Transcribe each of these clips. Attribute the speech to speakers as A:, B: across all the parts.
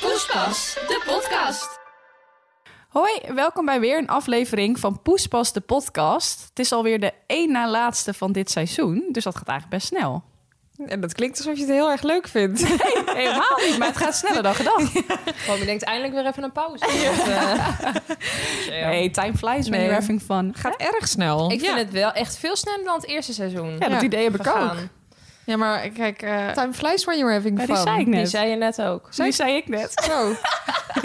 A: Poespas, de podcast.
B: Hoi, welkom bij weer een aflevering van Poespas de podcast. Het is alweer de één na laatste van dit seizoen, dus dat gaat eigenlijk best snel.
C: En dat klinkt alsof je het heel erg leuk vindt.
B: Helemaal niet, maar het gaat sneller dan gedacht.
D: Gewoon, je denkt eindelijk weer even een pauze. eh,
B: Nee, time flies when
C: Nee.
B: you're having fun.
C: Gaat erg snel.
D: Ik vind
C: ja.
D: het wel echt veel sneller dan het eerste seizoen.
B: Ja, dat
C: Ja,
B: idee heb ik
D: Gegaan.
B: ook.
C: Ja, maar kijk, eh, time flies when you're having
B: Ja,
C: fun.
B: die zei ik net.
D: Die zei je net ook.
B: Die zei ik net.
C: Zo.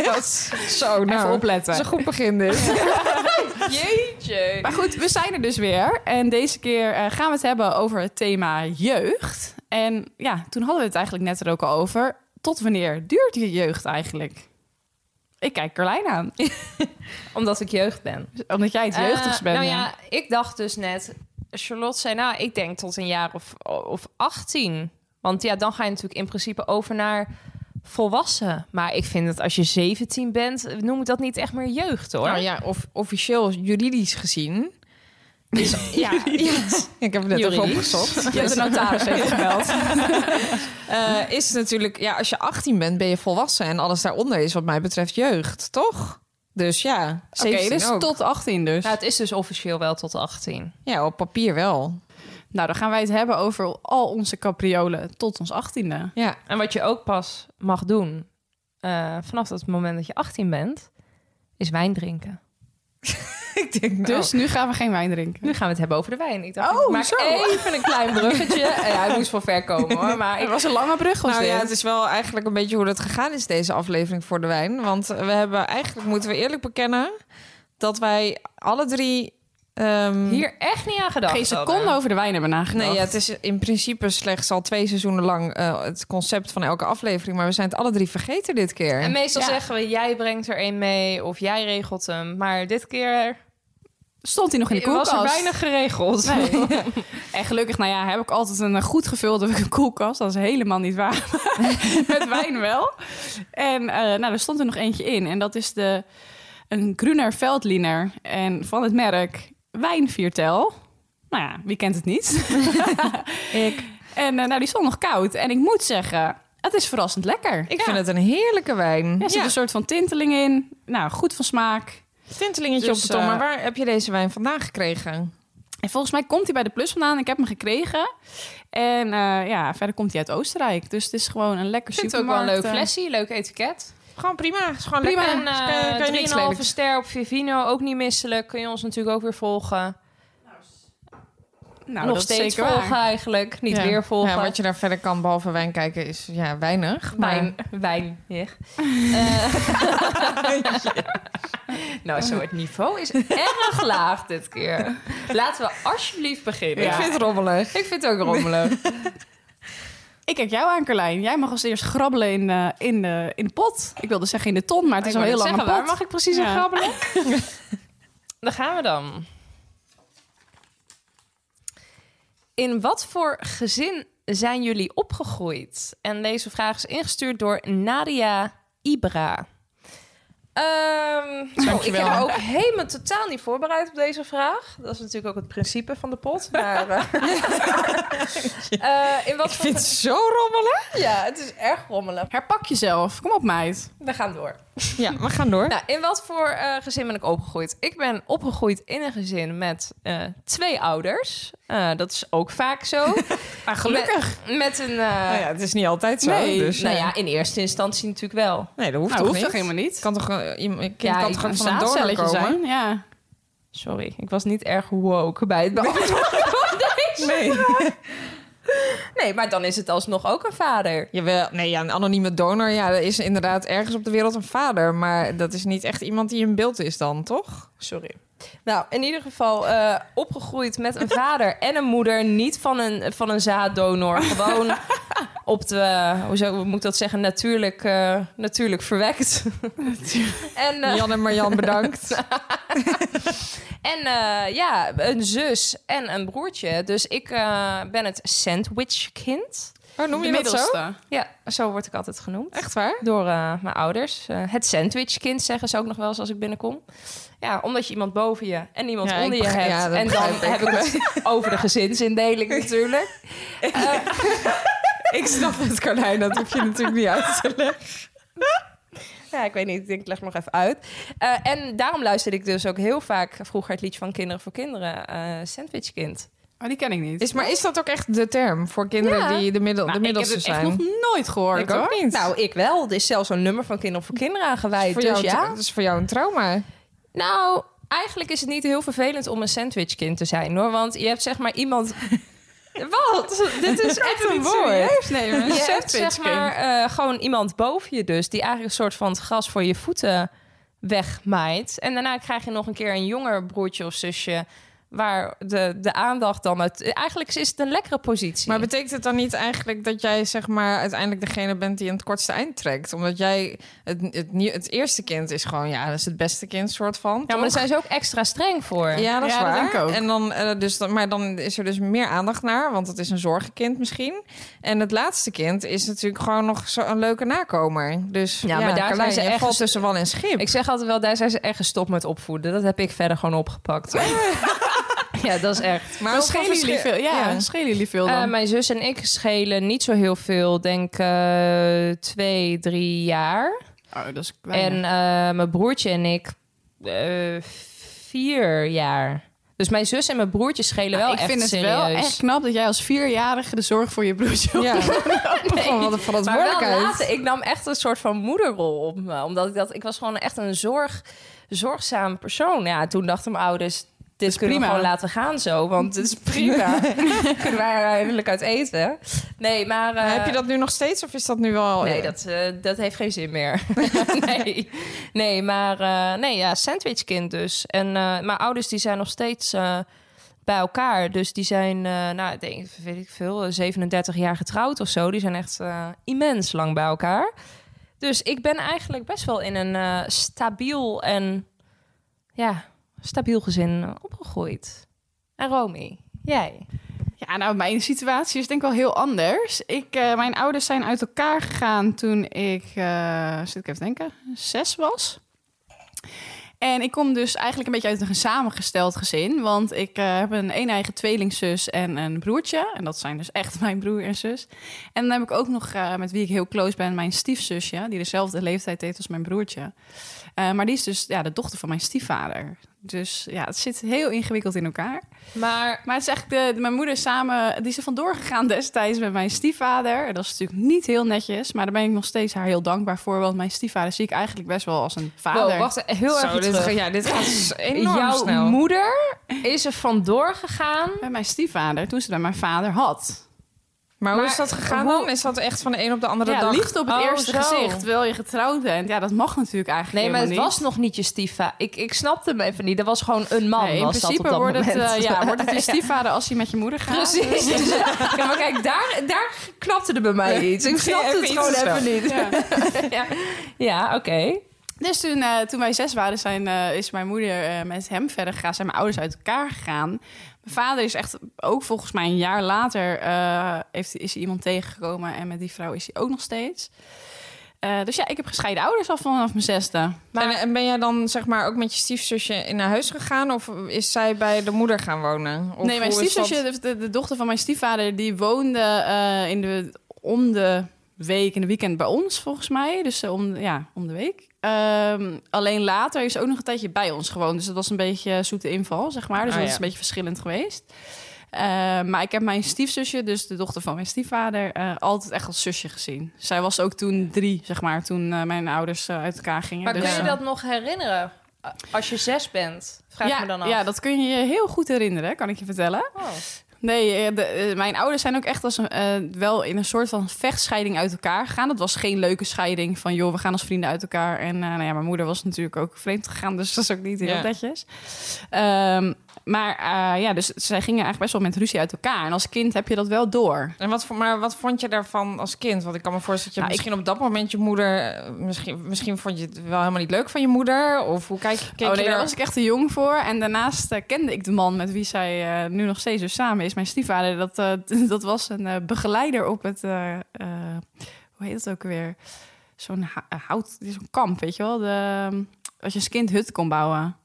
C: Dat is- Zo, nou.
B: Even opletten.
C: Dat is een goed begin dus. dit.
D: Jeetje.
B: Maar goed, we zijn er dus weer. En deze keer eh, gaan we het hebben over het thema jeugd. En ja, toen hadden we het eigenlijk net er ook al over. Tot wanneer duurt je jeugd eigenlijk? Ik kijk Carlijn aan,
D: Omdat ik jeugd ben.
B: omdat jij het jeugdigst
D: Eh,
B: bent.
D: Nou
B: nu.
D: ja, ik dacht dus net... Charlotte zei, nou, ik denk tot een jaar of, of 18. Want ja, dan ga je natuurlijk in principe over naar volwassen. Maar ik vind dat als je 17 bent, noem ik dat niet echt meer jeugd, hoor.
C: Nou ja, of officieel juridisch gezien.
D: ja,
B: Ah,
C: Ik heb het net even
D: Juridisch.
C: opgezocht. Dus,
B: Je hebt de notaris even gebeld.
D: Nou,
C: Eh, is het natuurlijk, ja, als je 18 bent, ben je volwassen. En alles daaronder is wat mij betreft jeugd, toch? Dus ja, 17
B: Oké, dus
C: ook.
B: tot 18 dus.
D: Nou, het is dus officieel wel tot 18.
C: Ja, op papier wel.
B: Nou, dan gaan wij het hebben over al onze capriolen tot ons 18e.
C: Ja,
D: En wat je ook pas mag doen eh, vanaf het moment dat je 18 bent, is wijn drinken.
C: ik denk nou.
B: Dus nu gaan we geen wijn drinken.
D: Nu gaan we het hebben over de wijn. Ik dacht,
B: Hm. Oh,
D: ik maak
B: zo.
D: even een klein bruggetje. Eh, ja, hij moest van ver komen hoor. Maar ik
B: Het was een lange brug, was
C: Nou ja,
B: dit?
C: het is wel eigenlijk een beetje hoe dat gegaan is, deze aflevering voor de wijn. Want we hebben eigenlijk, moeten we eerlijk bekennen, dat wij alle drie... ehm,
D: hier echt niet aan gedacht.
B: Hm. Geen seconde
D: hadden.
B: over de wijn hebben nagedacht.
C: Nee, ja, het is in principe slechts al twee seizoenen lang eh, het concept van elke aflevering. Maar we zijn het alle drie vergeten dit keer.
D: En meestal
B: Ja.
D: zeggen we, jij brengt er een mee of jij regelt hem. Maar dit keer
B: Stond hij nog in de koelkast?
D: was er weinig geregeld.
B: Nee. En gelukkig, nou ja, heb ik altijd een eh, goed gevulde koelkast. Dat is helemaal niet waar. Met wijn wel. En eh, nou, er stond er nog eentje in. En dat is de, een Gruner Veldliner. En van het merk Wijnviertel. Nou ja, wie kent het niet? ik. En eh, nou, die stond nog koud. En ik moet zeggen, het is verrassend lekker.
C: Ik vind het een heerlijke wijn.
B: Er zit een soort van tinteling in. Nou, goed van smaak.
C: tintelingetje
B: Dus,
C: op de tong. Maar
B: eh,
C: waar heb je deze wijn vandaan gekregen?
B: En volgens mij komt hij bij de Plus vandaan. Ik heb hem gekregen. En eh, ja, verder komt hij uit Oostenrijk. Dus het is gewoon een lekker
D: Ik vind het ook wel een
B: supermarkt.
D: leuk
B: eh.
D: flesje, leuk etiket.
C: Gewoon prima. Is gewoon
B: Prima.
C: lekker.
D: En
C: Dus kan je- kan je niks
D: eh 3,5
C: lelijks.
D: ster op Vivino, ook niet misselijk. Kun je ons natuurlijk ook weer volgen.
B: Nou,
D: Nog
B: dat is
D: steeds
B: zeker
D: volgen
B: waar.
D: eigenlijk, niet
C: Ja.
D: weer volgen.
C: Ja, wat je daar verder kan, behalve wijn kijken, is ja, weinig. Maar...
D: Wijn. Wijn. Eh. nou, zo het niveau is erg laag dit keer. Laten we alsjeblieft beginnen.
C: Ik vind het rommelig.
D: ik vind het ook rommelig.
B: Ik kijk jou aan, Carlijn. Jij mag als eerst grabbelen in, de- in, de, in de pot. Ik wilde zeggen in de ton, maar het is al heel lang een pot.
D: Waar mag ik precies
B: Ja.
D: aan grabbelen? Daar gaan we dan. In wat voor gezin zijn jullie opgegroeid? En deze vraag is ingestuurd door Nadia Ibra. Ehm oh, ik
C: Dankjewel.
D: heb er ook helemaal totaal niet voorbereid op deze vraag. Dat is natuurlijk ook het principe van de pot. Maar, eh, eh, in wat
C: Ik
D: voor...
C: vind het zo rommelig.
D: Ja, het is erg rommelig.
B: Herpak jezelf. Kom op, meid.
D: We gaan door.
C: Ja, we gaan door.
D: Nou, in wat voor eh, gezin ben ik opgegroeid? Ik ben opgegroeid in een gezin met eh, twee ouders. Eh, dat is ook vaak zo.
B: Maar gelukkig.
D: Met, met een... eh,
C: Nou ja, het is niet altijd zo.
B: Nee,
C: dus,
D: nou
C: eh,
D: ja, in eerste instantie natuurlijk wel.
C: nee, dat hoeft
B: Nou,
C: toch
B: hoeft toch
C: niet?
B: helemaal niet?
C: kan toch eh, je je kind
D: Ja,
C: kan
D: ik
C: toch
D: ben
C: ook van een donor
B: Zaadcelletje
C: komen?
B: zijn, ja.
D: Sorry, ik was niet erg woke bij het beantwoorden van deze.
C: Nee.
D: Nee, maar dan is het alsnog ook een vader.
C: Jawel, nee, ja, een anonieme donor. Ja, er is inderdaad ergens op de wereld een vader. Maar dat is niet echt iemand die in beeld is dan, toch?
D: Sorry. Nou, in ieder geval eh, opgegroeid met een vader en een moeder. Niet van een, van een zaaddonor. Gewoon op de, hoe zou- hoe moet ik dat zeggen, natuurlijk, eh, natuurlijk verwekt. en eh,
C: Jan en Marjan, bedankt.
D: en eh, ja, een zus en een broertje. Dus ik eh, ben het sandwichkind.
C: Oh, noem je
B: de
C: dat zo?
B: middelste.
D: Ja, zo word ik altijd genoemd.
C: Echt waar?
D: Door eh, mijn ouders. Eh, het sandwichkind zeggen ze ook nog wel eens als ik binnenkom. Ja, omdat je iemand boven je en iemand
C: Ja,
D: onder
C: ik
D: je
C: begrijp-
D: hebt.
C: ja, dat
D: en dan
C: begrijp ik.
D: heb ik het over de gezinsindeling natuurlijk.
C: Ik snap het, Carlijn. Dat hoef je natuurlijk niet uit te leggen.
D: Ja, ik weet niet. Ik denk, ik leg het nog even uit. Eh, en daarom luisterde ik dus ook heel vaak vroeger het liedje van Kinderen voor Kinderen. eh sandwichkind.
B: Oh, die ken ik niet.
C: Is, maar is dat ook echt de term voor kinderen
D: Ja.
C: die de, middel,
B: Nou,
C: de middelste
B: ik heb het
C: zijn?
B: echt nog nooit gehoord,
C: ik
B: hoor.
C: ook niet.
D: Nou, ik wel. Er is zelfs een nummer van Kinderen voor Kinderen aangeweid.
C: voor
D: Dus
C: jou,
D: ja.
C: Dat is voor jou een trauma.
D: Nou, eigenlijk is het niet heel vervelend om een sandwichkind te zijn hoor. Want je hebt zeg maar iemand. Wat? Dit is echt een woord.
B: Serieus nemen.
D: Je hebt
B: Sandwich
D: zeg
B: King.
D: maar eh, gewoon iemand boven je dus... die eigenlijk een soort van het gras voor je voeten wegmaait. En daarna krijg je nog een keer een jonger broertje of zusje... waar de, de aandacht dan uit... Eigenlijk is het een lekkere positie.
C: Maar betekent het dan niet eigenlijk dat jij zeg maar uiteindelijk degene bent die aan het kortste eind trekt? Omdat jij het, het, nie- het eerste kind is gewoon, ja, dat is het beste kind soort van.
D: ja, maar daar zijn ze ook extra streng voor.
C: Ja, dat is
B: Ja, dat
C: waar.
B: denk ik ook.
C: En dan, eh, dus, dan- maar dan is er dus meer aandacht naar, want het is een zorgenkind misschien. En het laatste kind is natuurlijk gewoon nog zo een leuke nakomer. Dus ja,
D: maar daar
C: Carlijn,
D: zijn ze
C: je
D: echt
C: valt
D: een-
C: tussen wal en schip.
D: Ik zeg altijd wel, daar zijn ze echt gestopt met opvoeden. Dat heb ik verder gewoon opgepakt. ja, dat is echt.
C: maar
B: Dan
C: ook van
B: schelen jullie
C: verschil-
B: veel. Ja,
C: ja.
B: schelen jullie veel dan.
D: Eh, mijn zus en ik schelen niet zo heel veel. Denk eh, twee, drie jaar.
B: oh, dat is
D: En
B: weinig.
D: eh, mijn broertje en ik eh, vier jaar. Dus mijn zus en mijn broertje schelen wel
B: ik
D: echt
B: vind het
D: serieus.
B: wel echt knap dat jij als vierjarige de zorg voor je broertje
C: Ja,
B: opneemt.
C: gewoon wat een
D: maar wel
C: verantwoordelijkheid.
D: later, ik nam echt een soort van moederrol op me. Omdat ik dat, ik was gewoon echt een zorg, zorgzaam persoon. Ja, toen dachten mijn ouders, dit kunnen we
B: prima.
D: gewoon laten gaan zo. Want dit is prima. kunnen wij er eindelijk uit eten. Nee, maar... eh,
C: Maar heb je dat nu nog steeds of is dat nu wel...
D: Nee, dat, eh, dat heeft geen zin meer. nee. nee, maar eh, nee, ja, sandwichkind dus. En eh, mijn ouders die zijn nog steeds eh, bij elkaar. Dus die zijn, eh nou, ik denk, weet ik veel, eh, 37 jaar getrouwd of zo. Die zijn echt eh, immens lang bij elkaar. Dus ik ben eigenlijk best wel in een eh, stabiel en ja, stabiel gezin eh, opgegroeid. En Romy, jij?
B: Ja, nou, mijn situatie is denk ik wel heel anders. Ik, eh, mijn ouders zijn uit elkaar gegaan toen ik, eh, zit ik even te denken, zes was. En ik kom dus eigenlijk een beetje uit een samengesteld gezin. Want ik eh, heb een een-eigen tweelingzus en een broertje. En dat zijn dus echt mijn broer en zus. En dan heb ik ook nog, eh, met wie ik heel close ben, mijn stiefzusje. Die dezelfde leeftijd heeft als mijn broertje. Eh, maar die is dus ja, de dochter van mijn stiefvader. Dus ja, het zit heel ingewikkeld in elkaar.
D: Maar
B: Maar het is eigenlijk de, de- mijn moeder samen, die is er vandoor gegaan destijds met mijn stiefvader. En Dat is natuurlijk niet heel netjes, maar daar ben ik nog steeds haar heel dankbaar voor. Want mijn stiefvader zie ik eigenlijk best wel als een vader.
D: wow, wacht heel
C: Zo,
D: erg
C: dit,
D: terug.
C: ga- ja, dit gaat s- enorm
D: Jouw
C: snel.
D: moeder is er vandoor gegaan.
B: Bij mijn stiefvader, toen ze bij mijn vader had.
C: Maar hoe
D: Maar
C: is dat gegaan
D: hoe-
C: dan? Is dat echt van de een op de andere
B: Ja,
C: dag?
B: liefde op het
D: Oh,
B: eerste
D: zo.
B: gezicht, terwijl je getrouwd bent. Ja, dat mag natuurlijk eigenlijk
D: Nee, maar het
B: helemaal
D: was nog niet je stiefvader. Ik, ik snapte hem even niet. Dat was gewoon een man.
B: niet. Nee, in
D: was dat
B: principe
D: op dat
B: wordt, het,
D: moment.
B: eh, ja, wordt het je stiefvader als hij met je moeder gaat.
D: Precies. ja, maar kijk, daar, daar knapte er bij mij iets. Ik
C: ging
D: snapte
C: even
D: het
C: iets
D: gewoon
C: te snel.
D: even niet.
B: Ja.
D: Ja, ja oké.
B: Dus toen, eh, toen wij zes waren, zijn, eh, is mijn moeder eh, met hem verder gegaan. Zijn mijn ouders uit elkaar gegaan. Mijn vader is echt ook volgens mij een jaar later... eh, heeft, is hij iemand tegengekomen en met die vrouw is hij ook nog steeds. Eh, dus ja, ik heb gescheiden ouders al vanaf mijn zesde.
C: En, en ben jij dan zeg maar ook met je stiefzusje in naar huis gegaan? Of is zij bij de moeder gaan wonen? Of
B: nee, mijn
C: hoe is dat-
B: stiefzusje, de, de dochter van mijn stiefvader... die woonde eh, in de, om de week, in de weekend bij ons volgens mij. Dus eh, om, ja, om de week. Ehm, alleen later is ze ook nog een tijdje bij ons gewoond. Dus dat was een beetje zoete inval, zeg maar. Dus
C: Ah,
B: dat
C: ja.
B: is een beetje verschillend geweest. Eh, maar ik heb mijn stiefzusje, dus de dochter van mijn stiefvader, eh, altijd echt als zusje gezien. Zij was ook toen drie, zeg maar, toen eh, mijn ouders eh, uit elkaar gingen.
D: Maar
B: Dus,
D: kun je
B: eh,
D: dat nog herinneren? Als je zes bent, vraag
B: ja,
D: me dan af.
B: Ja, dat kun je je heel goed herinneren, kan ik je vertellen.
D: Oh.
B: Nee, eh, de- eh, mijn ouders zijn ook echt als een, eh, wel in een soort van vechtscheiding uit elkaar gegaan. Dat was geen leuke scheiding van, joh, we gaan als vrienden uit elkaar. En eh, nou ja, mijn moeder was natuurlijk ook vreemd gegaan, dus dat is ook niet heel
C: Ja.
B: netjes. Ehm, maar eh, ja, dus zij gingen eigenlijk best wel met ruzie uit elkaar. En als kind heb je dat wel door.
C: En wat, vo- maar wat vond je daarvan als kind? Want ik kan me voorstellen dat je
B: Nou, ik-
C: misschien op dat moment je moeder... eh, Misschien, misschien vond je het wel helemaal niet leuk van je moeder. Of hoe kijk, keek
B: oh nee,
C: je
B: daar
C: daar...
B: was ik echt te jong voor. En daarnaast eh, kende ik de man met wie zij eh, nu nog steeds dus samen is. Mijn stiefvader, dat, eh, dat was een eh, begeleider op het... eh, eh, hoe heet dat ook weer? Zo'n ha- eh, hout... Zo'n kamp, weet je wel? De, ehm, als je als kind hut kon bouwen.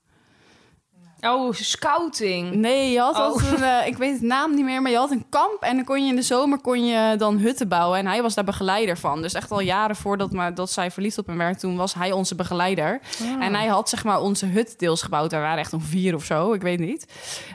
D: Oh, scouting.
B: Nee, je had
D: Oh.
B: altijd een, eh, ik weet het naam niet meer, maar je had een kamp en dan kon je in de zomer kon je dan hutten bouwen en hij was daar begeleider van. Dus echt al jaren voordat maar, dat zij verliefd op hem werd, toen was hij onze begeleider.
D: Ah.
B: En hij had zeg maar onze hut deels gebouwd. Daar waren echt nog vier of zo, ik weet niet.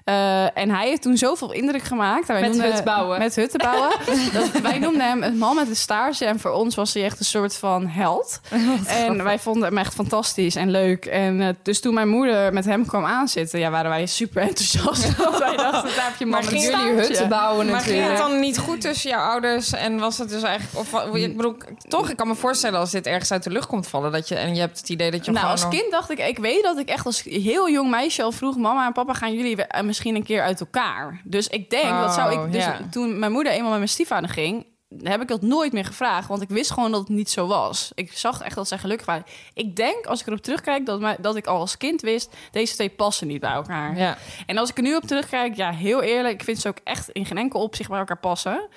B: Eh, en hij heeft toen zoveel indruk gemaakt. En wij
D: Met
B: noemden-
D: hut bouwen.
B: Met hutten bouwen. dat, wij noemden hem een man met een staartje en voor ons was hij echt een soort van held. En wij vonden hem echt fantastisch en leuk. En eh, dus toen mijn moeder met hem kwam aanzitten, ja, waren wij super enthousiast. Want wij dachten, daar heb je
C: Maar
B: man met
C: ging-
B: jullie
C: staartje.
B: hutten
D: bouwen
C: Maar ging het dan niet goed tussen jouw ouders? En was het dus eigenlijk... Of, wa- ik bedoel, toch, ik kan me voorstellen als dit ergens uit de lucht komt vallen... Dat je, en je hebt het idee dat je
B: Nou,
C: gewoon...
B: als
C: nog-
B: kind dacht ik, ik weet dat ik echt als heel jong meisje al vroeg... mama en papa, gaan jullie we- eh, misschien een keer uit elkaar? Dus ik denk, dat zou
C: Oh,
B: ik... Dus
C: ja.
B: toen mijn moeder eenmaal met mijn stiefvader ging... heb ik dat nooit meer gevraagd, want ik wist gewoon dat het niet zo was. Ik zag echt dat zij gelukkig waren. Ik denk, als ik erop terugkijk, dat, mij- dat ik al als kind wist... deze twee passen niet bij elkaar.
C: Ja.
B: En als ik er nu op terugkijk, ja, heel eerlijk... ik vind ze ook echt in geen enkel opzicht bij elkaar passen.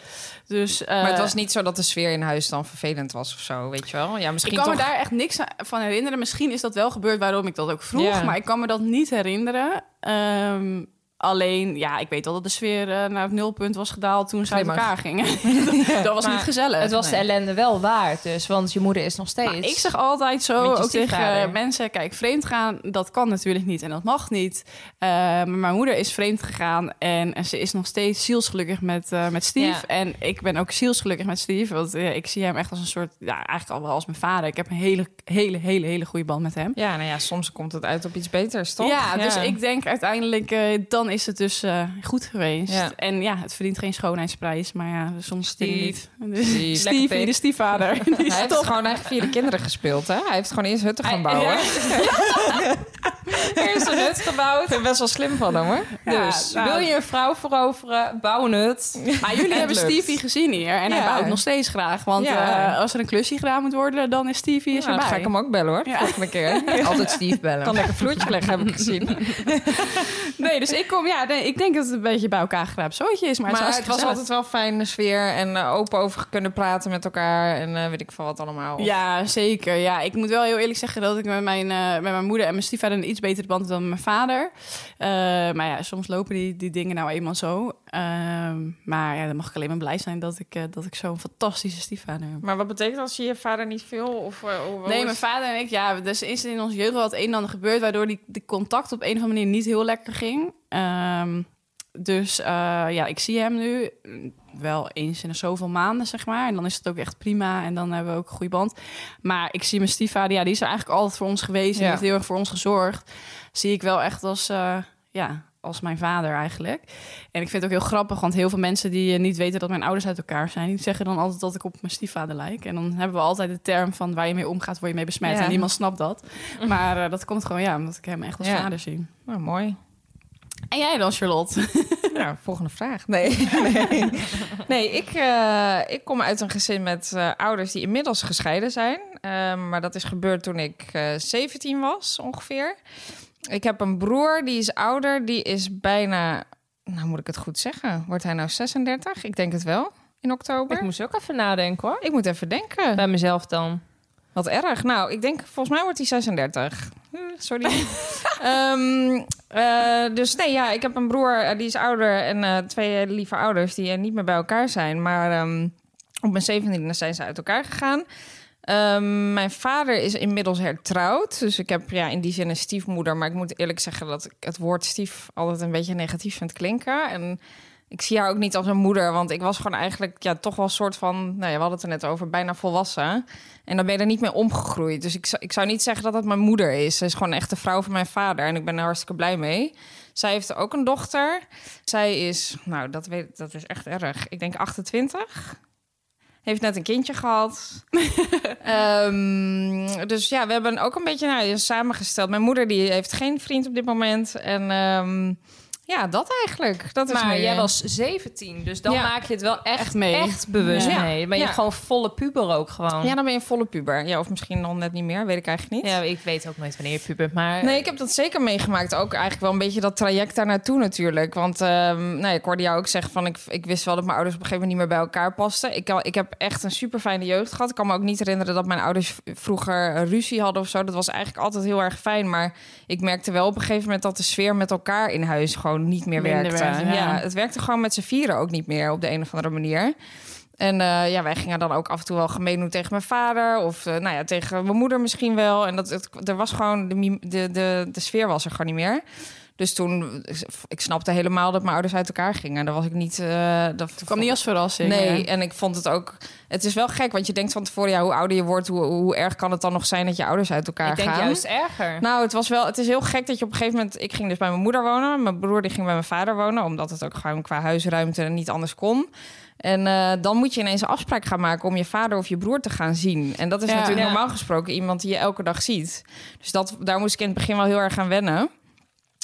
B: Dus, eh,
C: Maar het was niet zo dat de sfeer in huis dan vervelend was of zo, weet je wel? Ja, misschien
B: ik kan
C: toch...
B: me daar echt niks aan- van herinneren. Misschien is dat wel gebeurd waarom ik dat ook vroeg.
C: Ja.
B: Maar ik kan me dat niet herinneren. Ehm, alleen, ja, ik weet wel dat de sfeer eh, naar het nulpunt was gedaald toen ze uit
C: Grimmig.
B: elkaar gingen. dat was
C: Maar
B: niet gezellig.
D: Het was de ellende wel waard, dus, want je moeder is nog steeds.
B: Maar ik zeg altijd
D: Met
B: zo,
D: je
B: ook tegen
D: stiefvader.
B: eh, mensen, kijk, vreemd gaan, dat kan natuurlijk niet en dat mag niet. Eh, maar mijn moeder is vreemd gegaan en, en ze is nog steeds zielsgelukkig met, eh, met Steve.
D: Ja.
B: En ik ben ook zielsgelukkig met Steve, want eh, ik zie hem echt als een soort, ja, eigenlijk al wel als mijn vader. Ik heb een hele, hele, hele, hele goede band met hem.
C: Ja, nou ja, soms komt het uit op iets beters, toch?
B: Ja, dus ik denk uiteindelijk, eh, dan is het dus eh, goed geweest.
C: Ja.
B: En ja, het verdient geen schoonheidsprijs, maar ja, soms
C: Steve.
B: niet.
C: Steve.
B: Stevie, de stiefvader. Die is
C: Hij heeft
B: top.
C: gewoon eigenlijk via de kinderen gespeeld, hè? Hij heeft gewoon eerst hutten gaan
D: Hij-
C: bouwen.
D: Ja.
C: eerst een hut gebouwd. Ik vind het best wel slim van hem, hoor.
B: Ja,
D: dus
B: nou.
D: wil je een vrouw veroveren, bouw een hut.
B: Maar jullie
C: Het
B: hebben
C: lukt.
B: Stevie gezien hier. En
C: Ja.
B: hij bouwt nog steeds graag. Want
C: Ja.
B: eh, als er een klusje gedaan moet worden, dan is Stevie is
C: Ja, dan
B: erbij.
C: ga ik hem ook bellen, hoor.
B: Ja.
C: Volgende keer.
D: Altijd Steve bellen.
C: Kan lekker vloertje leggen, heb ik gezien.
B: Nee, dus ik kom... Ja, nee, ik denk dat het een beetje bij elkaar geraapt zootje is. Maar,
C: Maar het,
B: het
C: was
B: was altijd...
C: altijd wel een fijne sfeer en eh, open over kunnen praten met elkaar en eh, weet ik veel wat allemaal. Of-
B: Ja, zeker. Ja, ik moet wel heel eerlijk zeggen dat ik met mijn, eh, met mijn moeder en mijn stiefvader een iets betere band heb dan met mijn vader. Eh, maar ja, soms lopen die, die dingen nou eenmaal zo. Ehm, maar ja, dan mag ik alleen maar blij zijn dat ik, eh, dat ik zo'n fantastische stiefvader heb.
C: Maar wat betekent als je je vader niet veel? Of, eh, hoe- hoe
B: Nee,
C: is-
B: mijn vader en ik, ja, dus is in onze jeugd wel het een en ander gebeurd, waardoor die, die contact op een of andere manier niet heel lekker ging. Ehm, dus eh, ja, ik zie hem nu mm, wel eens in de zoveel maanden, zeg maar. En dan is het ook echt prima en dan hebben we ook een goede band. Maar ik zie mijn stiefvader, ja, die is er eigenlijk altijd voor ons geweest en
C: Ja.
B: heeft heel erg voor ons gezorgd. Zie ik wel echt als, eh, ja, als mijn vader eigenlijk. En ik vind het ook heel grappig, want heel veel mensen die eh, niet weten dat mijn ouders uit elkaar zijn, die zeggen dan altijd dat ik op mijn stiefvader lijk. En dan hebben we altijd de term van waar je mee omgaat, word je mee besmet.
C: Ja.
B: En niemand snapt dat. Maar eh, dat komt gewoon, ja, omdat ik hem echt als
C: Ja.
B: vader zie.
C: Nou, mooi.
B: En jij dan, Charlotte?
C: Nou, volgende vraag. Nee, nee. nee ik, eh, ik kom uit een gezin met eh, ouders die inmiddels gescheiden zijn. Ehm, maar dat is gebeurd toen ik eh 17 was, ongeveer. Ik heb een broer, die is ouder. Die is bijna, nou moet ik het goed zeggen. Wordt hij nou 36? Ik denk het wel, in oktober.
D: Ik moest ook even nadenken hoor.
C: Ik moet even denken.
D: Bij mezelf dan.
C: Wat erg. Nou, ik denk, volgens mij wordt hij 36. Eh, Sorry. Ehm, eh, dus nee, ja, ik heb een broer, eh, die is ouder en eh, twee eh, lieve ouders die eh, niet meer bij elkaar zijn. Maar ehm, op mijn 17e zijn ze uit elkaar gegaan. Ehm, mijn vader is inmiddels hertrouwd. Dus ik heb ja, in die zin een stiefmoeder. Maar ik moet eerlijk zeggen dat ik het woord stief altijd een beetje negatief vind klinken. En ik zie haar ook niet als een moeder. Want ik was gewoon eigenlijk ja, toch wel een soort van... Nou ja, we hadden het er net over, bijna volwassen. En dan ben je er niet mee omgegroeid. Dus ik, zou- ik zou niet zeggen dat dat mijn moeder is. Ze is gewoon echt de vrouw van mijn vader. En ik ben er hartstikke blij mee. Zij heeft ook een dochter. Zij is, nou, dat, weet, dat is echt erg. Ik denk 28. Heeft net een kindje gehad. Ehm, dus ja, we hebben ook een beetje nou, samengesteld. Mijn moeder die heeft geen vriend op dit moment. En ehm, ja, dat eigenlijk. Dat is
D: Maar
C: meer- eh,
D: jij was 17, dus dan
C: Ja.
D: maak je het wel echt,
B: Echt
D: echt,
B: mee.
D: bewust
C: Ja.
D: mee. Ben je
C: Ja.
D: gewoon volle puber ook gewoon.
C: Ja,
D: Ja,
C: dan ben je volle puber. Ja, of misschien nog net niet meer, weet ik eigenlijk niet.
D: ik weet ook nooit wanneer je puber bent, maar...
C: Nee, ik heb dat zeker meegemaakt. Ook eigenlijk wel een beetje dat traject daar naartoe natuurlijk. Want ehm, nou, ik hoorde jou ook zeggen van... Ik, ik wist wel dat mijn ouders op een gegeven moment niet meer bij elkaar pasten. Ik, kan- ik heb echt een super fijne jeugd gehad. Ik kan me ook niet herinneren dat mijn ouders vroeger ruzie hadden of zo. Dat was eigenlijk altijd heel erg fijn. Maar ik merkte wel op een gegeven moment dat de sfeer met elkaar in huis gewoon niet meer
B: Minder
C: werkte.
B: werd, ja.
C: ja. het werkte gewoon met z'n vieren ook niet meer op de een of andere manier. En eh, ja, wij gingen dan ook af en toe wel gemeen doen tegen mijn vader. Of eh, nou ja, tegen mijn moeder misschien wel. En dat, het, er was gewoon de, mim- de, de, de sfeer was er gewoon niet meer. Dus toen, ik snapte helemaal dat mijn ouders uit elkaar gingen. En daar was ik niet... eh dat
B: Het kwam niet als verrassing.
C: Nee,
B: ja.
C: en ik vond het ook... Het is wel gek, want je denkt van tevoren... Ja, hoe ouder je wordt, hoe, hoe erg kan het dan nog zijn dat je ouders uit elkaar
D: ik denk
C: gaan?
D: juist erger.
C: Nou, het was wel. Het is heel gek dat je op een gegeven moment. Ik ging dus bij mijn moeder wonen. Mijn broer die ging bij mijn vader wonen, omdat het ook gewoon qua huisruimte niet anders kon. En eh, dan moet je ineens een afspraak gaan maken om je vader of je broer te gaan zien. En dat is
B: Ja.
C: natuurlijk
D: Ja.
C: normaal gesproken iemand die je elke dag ziet. Dus dat, daar moest ik in het begin wel heel erg aan wennen.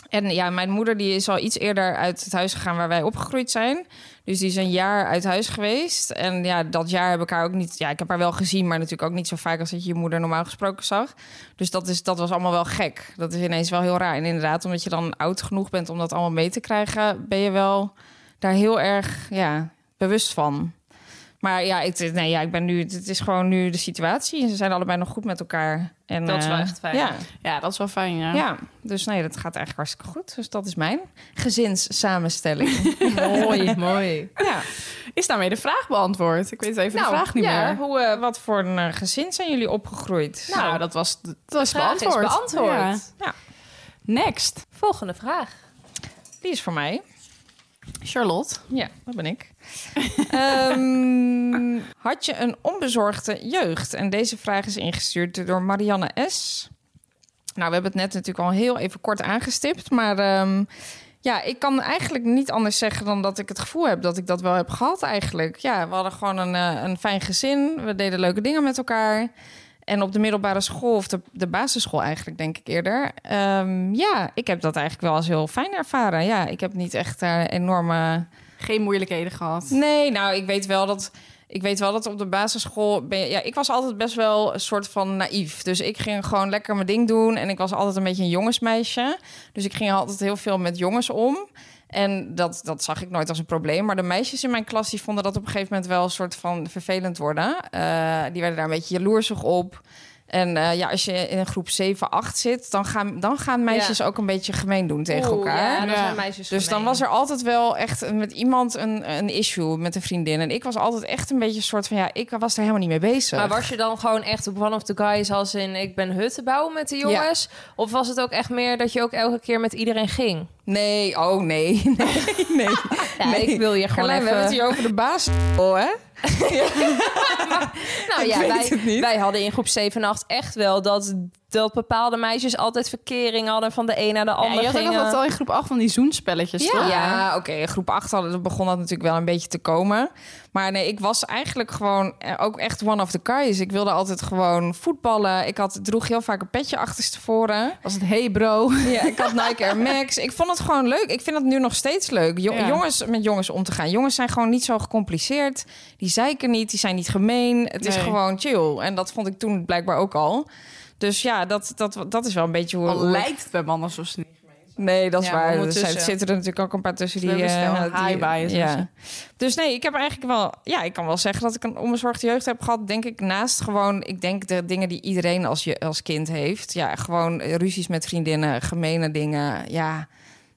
C: En ja, mijn moeder die is al iets eerder uit het huis gegaan waar wij opgegroeid zijn. Dus die is een jaar uit huis geweest. En ja, dat jaar heb ik haar ook niet... Ja, ik heb haar wel gezien, maar natuurlijk ook niet zo vaak... als dat je je moeder normaal gesproken zag. Dus dat, is, dat was allemaal wel gek. Dat is ineens wel heel raar. En inderdaad, omdat je dan oud genoeg bent om dat allemaal mee te krijgen... ben je wel daar heel erg ja, bewust van. Maar ja, ik, nee, ja, ik ben nu, het is gewoon nu de situatie. En ze zijn allebei nog goed met elkaar. En,
D: Dat is wel
C: eh,
D: echt fijn.
C: Ja,
B: Ja, dat is wel fijn, ja.
C: ja, dus nee, dat gaat eigenlijk hartstikke goed. Dus dat is mijn gezinssamenstelling.
D: mooi, mooi.
C: ja.
B: Is daarmee de vraag beantwoord? Ik weet even de vraag niet
C: Nou, ja,
B: meer.
C: Hoe, eh, wat voor een eh, gezin zijn jullie opgegroeid?
B: Nou, dat was, dat was
D: Vraag is
B: beantwoord.
D: beantwoord.
B: Ja.
C: Ja.
B: Next.
D: Volgende vraag.
C: die is voor mij.
B: Charlotte.
C: Ja, dat ben ik. Ehm, had je een onbezorgde jeugd? En deze vraag is ingestuurd door Marianne S. Nou, we hebben het net natuurlijk al heel even kort aangestipt. Maar ehm, ja, ik kan eigenlijk niet anders zeggen dan dat ik het gevoel heb dat ik dat wel heb gehad eigenlijk. Ja, we hadden gewoon een, eh, een fijn gezin. We deden leuke dingen met elkaar. En op de middelbare school, of de, de basisschool eigenlijk, denk ik eerder. ehm, ja, ik heb dat eigenlijk wel als heel fijn ervaren. Ja, ik heb niet echt daar enorme
B: Geen moeilijkheden gehad.
C: Nee, nou, ik weet wel dat. Ik weet wel dat op de basisschool. Ben je, ja, ik was altijd best wel een soort van naïef. Dus ik ging gewoon lekker mijn ding doen. En ik was altijd een beetje een jongensmeisje. Dus ik ging altijd heel veel met jongens om. En dat, dat zag ik nooit als een probleem. Maar de meisjes in mijn klas die vonden dat op een gegeven moment wel een soort van vervelend worden. Eh, die werden daar een beetje jaloersig op. En eh, ja, als je in een groep 7, 8 zit, dan gaan, dan gaan meisjes ook een beetje gemeen doen tegen elkaar.
D: Ja,
B: Ja.
D: dan zijn meisjes
C: Dus dan
D: gemeen.
C: was er altijd wel echt met iemand een, een issue met een vriendin. En ik was altijd echt een beetje een soort van ja, ik was er helemaal niet mee bezig.
D: Maar was je dan gewoon echt op one of the guys als in ik ben hutten bouwen met de jongens? Of was het ook echt meer dat je ook elke keer met iedereen ging?
C: Nee, oh nee. Nee, nee.
D: Ja,
C: Nee.
D: ik wil je gewoon
C: Carlijn, we hebben het
D: even...
C: hier over de baas. Oh, hè?
D: Nou
C: Ik
D: ja,
C: weet
D: wij,
C: het niet.
D: wij hadden in groep 7 en 8 echt wel dat, dat bepaalde meisjes altijd verkering hadden van de een naar de
B: Ja,
D: ander
B: je had ook
D: gingen.
B: nog dat al in groep 8 van die zoenspelletjes,
C: Ja,
B: toch?
C: ja oké. in Groep 8 hadden, dat begon dat natuurlijk wel een beetje te komen. Maar nee, ik was eigenlijk gewoon eh, ook echt one of the guys. Ik wilde altijd gewoon voetballen. Ik had, droeg heel vaak een petje achterstevoren.
B: Was het hey bro?
C: Ja, ik had Nike Air Max. Ik vond het gewoon leuk. Ik vind het nu nog steeds leuk. Jo-
B: Ja.
C: Jongens met jongens om te gaan. Jongens zijn gewoon niet zo gecompliceerd. Die zeiken niet, die zijn niet gemeen. Het is
B: Nee.
C: gewoon chill. En dat vond ik toen blijkbaar ook al. Dus ja, dat, dat, dat is wel een beetje hoe...
B: Al
C: hoe ik-
B: lijkt het bij mannen zo snel.
C: Nee, dat is
D: Ja,
C: waar. Er
D: ondertussen.
C: zijn- zitten er natuurlijk ook een paar tussen die...
B: We hebben
C: eh,
B: snel
C: die-
B: high bias
C: ja.
B: tussen.
C: Dus nee, ik heb eigenlijk wel... Ja, ik kan wel zeggen dat ik een onbezorgde jeugd heb gehad. Denk ik naast gewoon... Ik denk de dingen die iedereen als, je, als kind heeft. Ja, gewoon eh, ruzies met vriendinnen, gemene dingen. Ja,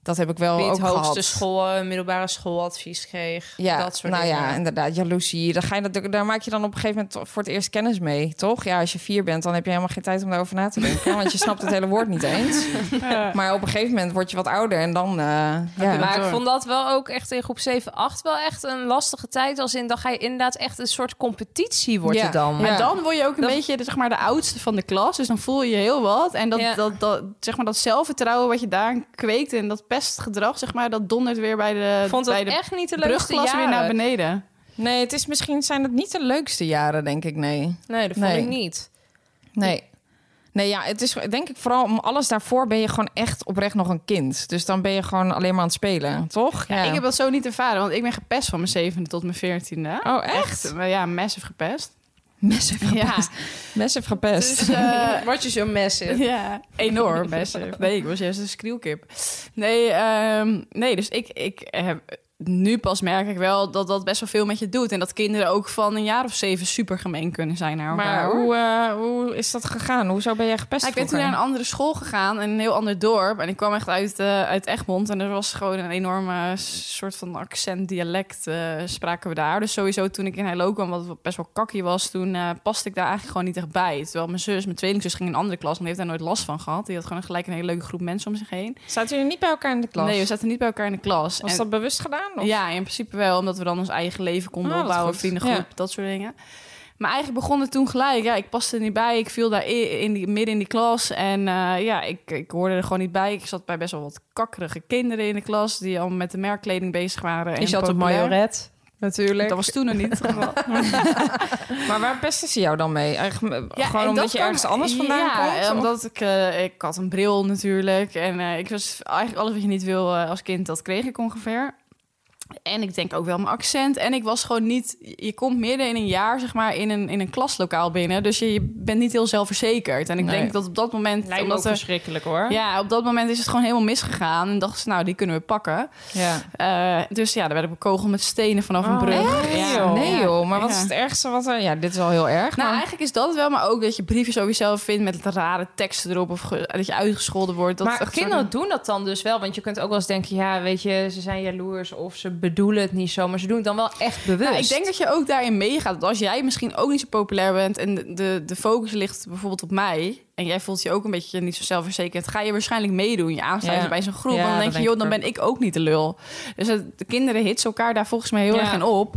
C: dat heb ik wel
D: Wie
C: ook
D: het hoogste
C: gehad.
D: school, eh, middelbare schooladvies kreeg.
C: Ja,
D: dat soort
C: nou
D: dingen.
C: ja, inderdaad. Jaloezie. Daar, ga je, dat- daar maak je dan op een gegeven moment voor het eerst kennis mee, toch? Ja, als je vier bent, dan heb je helemaal geen tijd om daarover na te denken. want je snapt het hele woord niet eens. Maar op een gegeven moment word je wat ouder en dan... eh, ja.
D: maar ik
B: door.
D: vond dat wel ook echt in groep 7, 8 wel echt een lastige tijd. Als in, dan ga je inderdaad echt een soort competitie wordt
C: Ja.
D: het dan.
C: Ja.
B: Maar dan word je ook een
D: Dat-
B: beetje de, zeg maar, de oudste van de klas. Dus dan voel je heel wat. En dat,
D: Ja.
B: dat, dat, zeg maar, dat zelfvertrouwen wat je daar kweekt... en dat pestgedrag, zeg maar, dat dondert weer bij de,
D: Ik vond dat
B: bij de
D: echt niet Eh, de leukste
B: brugglas weer naar
D: jaren.
B: beneden.
C: Nee, het is misschien zijn het niet de leukste jaren, denk ik. Nee.
D: Nee, dat vond
C: Nee.
D: ik niet.
C: Nee. Nee, ja, het is denk ik vooral om alles daarvoor ben je gewoon echt oprecht nog een kind. Dus dan ben je gewoon alleen maar aan het spelen, toch? Ja.
B: Ik heb dat zo niet ervaren, want ik ben gepest van mijn zevende tot mijn veertiende.
C: Oh, echt?
B: Ja, massive gepest.
C: Messen gepest.
B: Ja.
C: Messen gepest.
B: Dus, eh,
D: Word je zo massive?
B: Ja, enorm massive. Nee, ik was juist een skreeuwkip. Nee, ehm, nee dus ik, ik heb... Nu pas merk ik wel dat dat best wel veel met je doet. En dat kinderen ook van een jaar of zeven super gemeen kunnen zijn naar elkaar.
C: maar
B: hoor.
C: hoe, eh, hoe is dat gegaan? Hoezo ben jij gepest?
B: Ja, ik ben toen naar een
C: vroeger?
B: andere school gegaan en een heel ander dorp. En ik kwam echt uit, eh, uit Egmond. En er was gewoon een enorme s- soort van accent, dialect eh, spraken we daar. Dus sowieso toen ik in Heilo kwam, wat best wel kakkie was, toen eh, paste ik daar eigenlijk gewoon niet echt bij. Terwijl mijn zus, mijn tweelingzus, ging in een andere klas en die heeft daar nooit last van gehad. Die had gewoon gelijk een hele leuke groep mensen om zich heen.
C: Zaten jullie niet bij elkaar in de klas?
B: Nee, we zaten niet bij elkaar in de klas.
C: Was
B: En-
C: dat bewust gedaan? Of?
B: ja, in principe wel, omdat we dan ons eigen leven konden
C: Ah, wat
B: opbouwen,
C: goed.
B: vriendengroep, dat soort dingen. Maar eigenlijk begon het toen gelijk. Ja, ik paste er niet bij. Ik viel daar i- in die, midden in die klas. En eh, ja, ik, ik hoorde er gewoon niet bij. Ik zat bij best wel wat kakkerige kinderen in de klas... die al met de merkkleding bezig waren. en
D: Je zat op
B: populair.
D: majoret, natuurlijk.
B: Dat was toen nog niet.
C: Maar waar pesten ze jou dan mee? Eigenlijk,
B: Ja,
C: gewoon
B: en
C: omdat
B: dat
C: je
B: kwam-
C: ergens anders vandaan
B: ja,
C: komt? of?
B: omdat ik, eh, ik had een bril natuurlijk. En eh, ik was eigenlijk alles wat je niet wil eh, als kind, dat kreeg ik ongeveer. En ik denk ook wel mijn accent. En ik was gewoon niet... Je komt midden in een jaar, zeg maar, in een, in een klaslokaal binnen. Dus je, je bent niet heel zelfverzekerd. En ik
C: Nee.
B: denk dat op dat moment...
D: Lijkt me ook
B: omdat er-
D: verschrikkelijk, hoor.
B: ja, op dat moment is het gewoon helemaal misgegaan. En dachten ze, nou, die kunnen we pakken.
C: ja.
B: Eh, dus ja, daar werd ik bekogeld met stenen vanaf een
D: Oh,
B: brug.
D: echt?
B: Ja.
D: joh.
C: Nee joh, maar wat
B: Ja.
C: is het ergste wat er... Ja, dit is wel heel erg,
B: Nou,
C: maar-
B: eigenlijk is dat het wel, maar ook dat je briefjes over jezelf vindt met rare teksten erop of ge- dat je uitgescholden wordt. Dat is
D: maar
B: echt een
D: kinderen
B: soort-
D: doen dat dan dus wel. Want je kunt ook wel eens denken, ja, weet je, ze zijn jaloers of ze bedoelen het niet zo. Maar ze doen het dan wel echt bewust.
B: Nou, ik denk dat je ook daarin meegaat. Dat als jij misschien ook niet zo populair bent en de- de, de focus ligt bijvoorbeeld op mij. En jij voelt je ook een beetje niet zo zelfverzekerd. Ga je waarschijnlijk meedoen. Je aansluiten
C: Ja.
B: bij zo'n groep.
C: Ja,
B: en dan
C: dat
B: denk je,
C: denk
B: joh,
C: ik
B: dan ben ik ook niet de lul. Dus het- de kinderen hitsen elkaar daar volgens mij heel
C: Ja.
B: erg in op.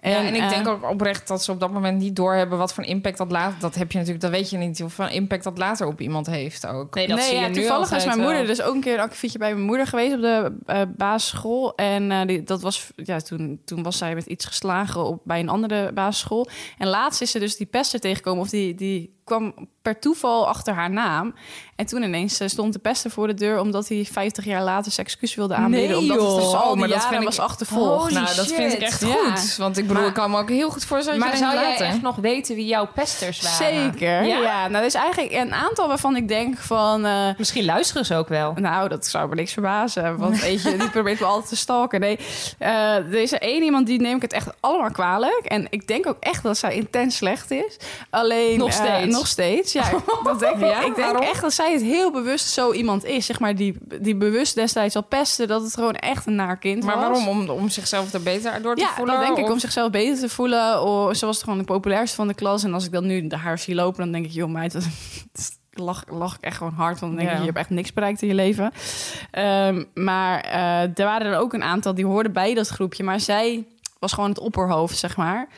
C: Ja, en ik
B: eh,
C: denk ook oprecht dat ze op dat moment niet doorhebben wat voor impact dat later... Dat heb je natuurlijk, dat weet je niet, hoeveel impact dat later op iemand heeft ook.
D: Nee, dat
B: nee,
D: zie je
B: ja,
D: nu
B: toevallig
D: altijd
B: was mijn moeder
D: wel.
B: dus ook een keer een akkefietje bij mijn moeder geweest op de eh basisschool. En eh, die, dat was, ja, toen, toen was zij met iets geslagen op, bij een andere basisschool. En laatst is ze dus die pester tegengekomen. Of die, die kwam per toeval achter haar naam. En toen ineens eh, stond de pester voor de deur... omdat hij 50 jaar later zijn excuus wilde aanbieden.
D: Nee,
B: omdat het
D: joh.
B: dus al
C: Oh,
B: die
C: maar dat
B: jaren
C: vind ik-
B: was achtervolgd.
D: Holy
C: nou, dat
D: shit.
C: vind ik echt
B: Ja.
C: goed. Want ik bedoel,
B: Maar-
C: ik kan me ook heel goed voorstellen
D: Maar
C: dat je
D: zou
C: denkt
D: jij
C: later.
D: echt nog weten wie jouw pesters waren?
B: Zeker, ja.
D: Ja?
B: Nou, er is eigenlijk een aantal waarvan ik denk van... eh,
D: Misschien luisteren ze ook wel.
B: Nou, dat zou me niks verbazen. Want weet je, die probeert me altijd te stalken. Nee, eh, er is er één iemand die neem ik het echt allemaal kwalijk. En ik denk ook echt dat zij intens slecht is. Alleen...
D: Nog
B: eh,
D: steeds?
B: nog steeds, ja. Dat denk ik. ik denk
C: Waarom?
B: echt dat zij het heel bewust zo iemand is. Zeg maar, die, die bewust destijds al pestte. Dat het gewoon echt een naar kind
C: Maar
B: was.
C: waarom? Om, om zichzelf er beter door te
B: Ja,
C: voelen?
B: dat denk ik.
C: Of-
B: Om zichzelf beter te voelen. Oh, ze was toch gewoon de populairste van de klas. En als ik dan nu de haar zie lopen, dan denk ik... joh meid, dat lach, lach ik echt gewoon hard. Want dan denk
C: Ja.
B: ik, je hebt echt niks bereikt in je leven. Ehm, maar eh, er waren er ook een aantal die hoorden bij dat groepje. Maar zij was gewoon het opperhoofd, zeg maar.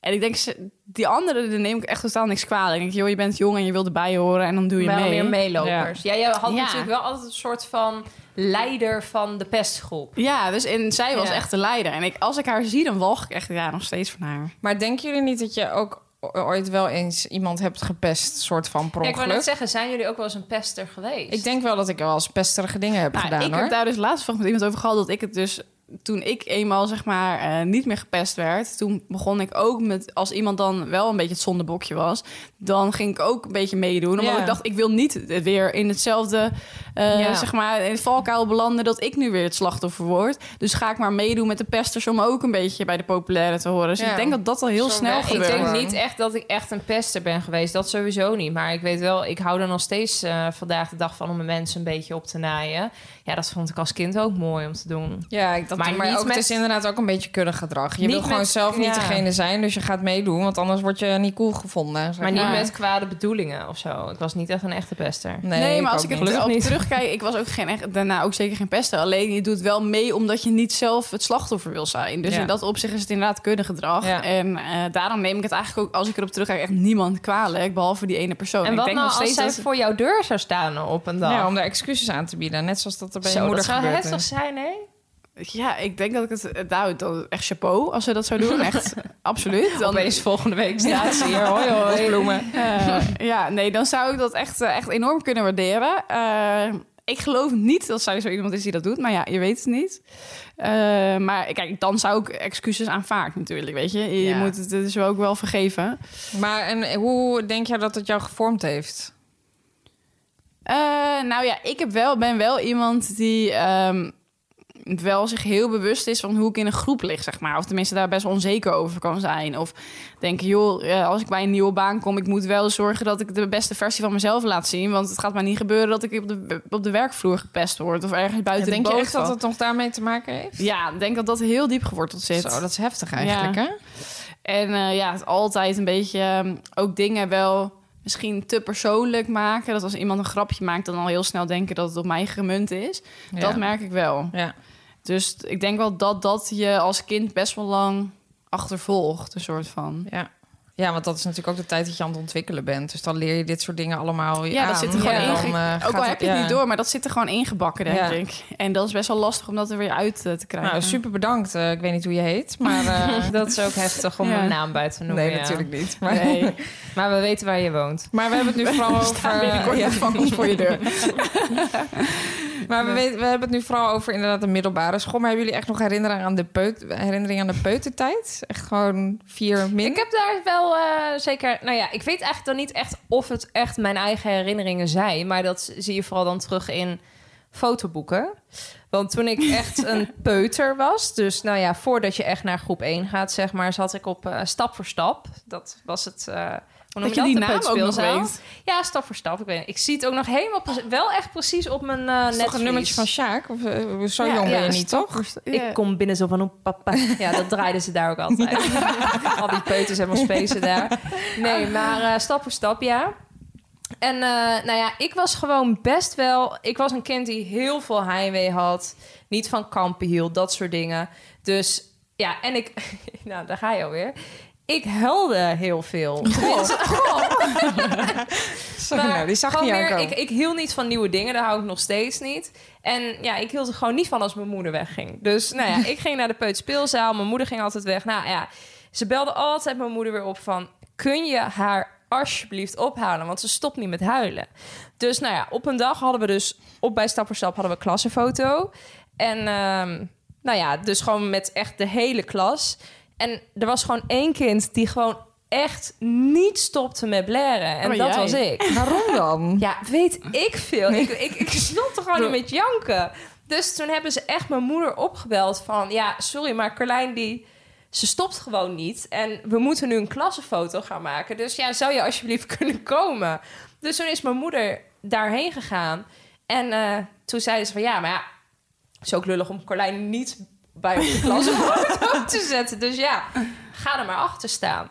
B: En ik denk, ze- die anderen, daar neem ik echt totaal niks kwalijk. Ik denk, joh, je bent jong en je wil erbij horen en dan doe je
D: Wel
B: mee.
D: meer meelopers. Ja, jij had
B: Ja.
D: natuurlijk wel altijd een soort van leider van de pestgroep.
B: Ja, dus en zij was
D: Ja.
B: echt de leider. En ik, als ik haar zie, dan walg ik echt ja, nog steeds van haar.
C: Maar denken jullie niet dat je ook o- ooit wel eens iemand hebt gepest, soort van per
D: Ja, ik wou
C: ongeluk?
D: net zeggen, zijn jullie ook wel eens een pester geweest?
C: Ik denk wel dat ik wel eens pesterige dingen heb
B: Nou,
C: gedaan,
B: ik
C: hoor.
B: heb daar dus laatst van met iemand over gehad dat ik het dus toen ik eenmaal zeg maar eh, niet meer gepest werd, toen begon ik ook met als iemand dan wel een beetje het zondebokje was, dan ging ik ook een beetje meedoen, omdat
C: Ja.
B: ik dacht ik wil niet weer in hetzelfde eh,
C: Ja.
B: zeg maar in het valkuil belanden dat ik nu weer het slachtoffer word. Dus ga ik maar meedoen met de pesters om ook een beetje bij de populaire te horen. Dus
C: Ja.
B: ik denk dat dat al heel
C: Zo
B: snel
C: werkt
D: ik
B: gebeurt.
D: denk
C: gebeuren.
D: niet echt dat ik echt een pester ben geweest. Dat sowieso niet. Maar ik weet wel, ik hou er nog steeds eh, vandaag de dag van om mijn mensen een beetje op te naaien. Ja, dat vond ik als kind ook mooi om te doen.
C: Ja, ik- dat
D: dat
C: Maar,
D: doen.
C: maar
D: niet
C: ook,
D: met...
C: het is inderdaad ook een beetje kuddig gedrag. Je
D: Niet
C: wil gewoon
D: met-
C: zelf niet
D: ja.
C: degene zijn, dus je gaat meedoen. Want anders word je niet cool gevonden. zeg
D: Maar niet
B: Ja.
D: met kwade bedoelingen of zo. Ik was niet echt een echte pester.
B: Nee, maar als ik
C: het
B: er
D: Gelukkig
B: op
D: niet.
B: terugkijk, ik was ook geen echt, daarna ook zeker geen pester. Alleen je doet wel mee omdat je niet zelf het slachtoffer wil zijn. Dus
C: Ja.
B: in dat opzicht is het inderdaad kuddegedrag.
C: Ja.
B: En eh, daarom neem ik het eigenlijk ook, als ik erop terugkijk, echt niemand kwalijk. Behalve die ene persoon.
D: en
B: ik
D: wat
B: denk
D: nou
B: nog
D: als
B: steeds
D: zij
B: dat-
D: voor jouw deur zou staan op een dag?
C: Ja, om daar excuses aan te bieden. Net zoals dat er bij
D: Zo,
C: je
D: dat
C: moeder
D: zou
C: gebeurd
D: heftig
C: is.
D: zijn, hè?
B: Ja, ik denk dat ik het... eh, Nou, dan echt chapeau als ze dat zou doen. Echt, absoluut. Dan
D: Opeens volgende week staat ze hier.
C: Hoi, hoi. Bloemen.
B: Eh, ja, nee, dan zou ik dat echt, eh, echt enorm kunnen waarderen. Eh, ik geloof niet dat zij zo iemand is die dat doet, maar ja, je weet het niet. Eh, maar kijk, dan zou ik excuses aanvaard natuurlijk, weet je. Je
C: Ja.
B: moet het dus ook wel vergeven.
C: Maar en eh, hoe denk jij dat het jou gevormd heeft?
B: Eh, nou ja, ik heb wel, ben wel iemand die ehm, wel zich heel bewust is van hoe ik in een groep lig, zeg maar. Of tenminste daar best onzeker over kan zijn. Of denken, joh, eh, als ik bij een nieuwe baan kom... ik moet wel zorgen dat ik de beste versie van mezelf laat zien. Want het gaat mij niet gebeuren dat ik op de, op de werkvloer gepest word... of ergens
C: En
B: buiten
C: denk
B: de
C: je
B: boot
C: echt dat
B: val.
C: het nog daarmee te maken heeft?
B: Ja, ik denk dat dat heel diep geworteld zit.
C: Zo, dat is heftig eigenlijk,
B: Ja.
C: hè?
B: En eh, ja, het altijd een beetje ehm, ook dingen wel misschien te persoonlijk maken. Dat als iemand een grapje maakt, dan al heel snel denken dat het op mij gemunt is.
C: Ja.
B: Dat merk ik wel.
C: Ja.
B: Dus t- ik denk wel dat dat je als kind best wel lang achtervolgt, een soort van.
C: Ja. ja, want dat is natuurlijk ook de tijd dat je aan het ontwikkelen bent. Dus dan leer je dit soort dingen allemaal
B: Ja, dat
C: aan.
B: zit er gewoon
C: En
B: in.
C: dan,
B: ge-
C: eh, gaat
B: ook al heb je het
C: ja.
B: niet door, maar dat zit er gewoon ingebakken, denk
C: Ja.
B: ik. En dat is best wel lastig om dat er weer uit eh, te krijgen.
C: Nou, super bedankt. Eh, ik weet niet hoe je heet, maar... eh,
D: Dat is ook heftig om
B: Ja.
D: een naam bij te noemen.
C: nee,
D: ja.
C: natuurlijk niet. Maar,
B: Nee,
D: Maar we weten waar je woont.
C: maar we hebben het nu vooral over...
B: binnenkort
C: ja.
B: met fakkels voor je deur.
C: Maar we, weten- we hebben het nu vooral over inderdaad de middelbare school. Maar hebben jullie echt nog herinneringen aan de, peut, herinnering aan de peutertijd? Echt gewoon vier min?
D: Ik heb daar wel eh, zeker... Nou ja, ik weet eigenlijk dan niet echt of het echt mijn eigen herinneringen zijn. Maar dat zie je vooral dan terug in fotoboeken. Want toen ik echt een peuter was... Dus nou ja, voordat je echt naar groep 1 gaat, zeg maar... zat ik op eh, stap voor stap. Dat was het... eh, hoe noem
B: Dat je die
D: De
B: naam ook nog
D: peuterspeelzaal?
B: weet.
D: Ja, stap voor stap. Ik, weet, niet. ik zie het ook nog helemaal... pre- Wel echt precies op mijn eh
C: Is toch
D: netvlies.
C: een nummertje van Sjaak? Of, eh, zo
B: Ja,
C: jong ben
D: ja.
C: je niet, toch?
D: Ik kom binnen zo van een papa. Ja, dat draaiden ze daar ook altijd. Al die peuters helemaal spacen daar. Nee, maar eh, stap voor stap, ja. En eh, nou ja, ik was gewoon best wel... Ik was een kind die heel veel heimwee had. Niet van kampen hield, dat soort dingen. Dus ja, en ik... Nou, daar ga je alweer. Ik huilde heel veel. Tenminste,
C: Sorry,
D: maar
C: nou, die zag ik
D: gewoon
C: niet
D: weer,
C: aankomen.
D: ik, ik hield niet van nieuwe dingen, daar hou ik nog steeds niet. En ja, ik hield er gewoon niet van als mijn moeder wegging. Dus nou ja, ik ging naar de peuterspeelzaal, mijn moeder ging altijd weg. Nou ja, ze belde altijd mijn moeder weer op van... kun je haar alsjeblieft ophalen, want ze stopt niet met huilen. Dus nou ja, op een dag hadden we dus... op bij Stap voor Stap hadden we een klassenfoto. En ehm, nou ja, dus gewoon met echt de hele klas. En er was gewoon één kind die gewoon echt niet stopte met blaren. En
C: Oh,
B: Maar
D: dat
B: jij.
D: was ik.
C: Waarom
B: Oh,
C: dan?
D: Ja, weet ik veel. Ik, ik, ik snapte gewoon niet met janken. Dus toen hebben ze echt mijn moeder opgebeld van... ja, sorry, maar Carlijn die... ze stopt gewoon niet. En we moeten nu een klassenfoto gaan maken. Dus ja, zou je alsjeblieft kunnen komen? Dus toen is mijn moeder daarheen gegaan. En eh, toen zeiden ze van... ja, maar ja, het is ook lullig om Carlijn niet bij onze klassenfoto te zetten. Dus ja, ga er maar achter staan.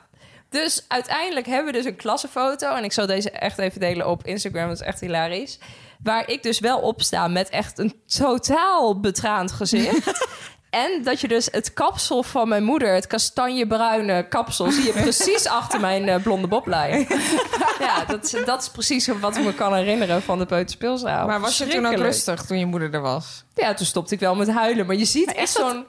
D: Dus uiteindelijk hebben we dus een klassenfoto. En ik zal deze echt even delen op Instagram. Dat is echt hilarisch. Waar ik dus wel op sta met echt een totaal betraand gezicht. en dat je dus het kapsel van mijn moeder, het kastanjebruine kapsel, zie je precies achter mijn eh, blonde boblijn. ja, dat, is- dat is precies wat ik me kan herinneren van de peuterspeelzaal.
C: Maar was je toen ook
D: Verschrikkelijk.
C: rustig toen je moeder er was?
D: Ja, toen stopte ik wel met huilen. Maar je ziet echt zo'n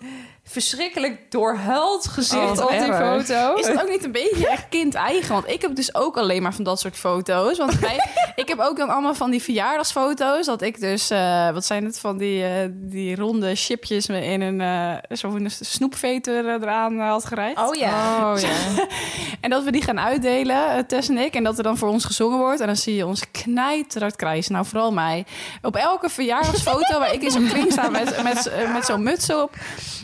D: verschrikkelijk doorhuild
C: Oh,
D: gezicht
C: wat
D: op die
C: erg.
D: foto.
B: Is dat ook niet een beetje echt kind-eigen? Want ik heb dus ook alleen maar van dat soort foto's. Want wij, ik heb ook dan allemaal van die verjaardagsfoto's. Dat ik dus, eh, wat zijn het, van die, eh, die ronde chipjes met in een, eh zo'n snoepveter eh, eraan eh, had gereid.
D: Oh ja.
C: Oh ja.
B: En dat we die gaan uitdelen, eh, Tess en ik. En dat er dan voor ons gezongen wordt. En dan zie je ons knijterhard krijsen. Nou, vooral mij. Op elke verjaardagsfoto waar ik in zo'n kring sta met, met, eh, met zo'n muts op.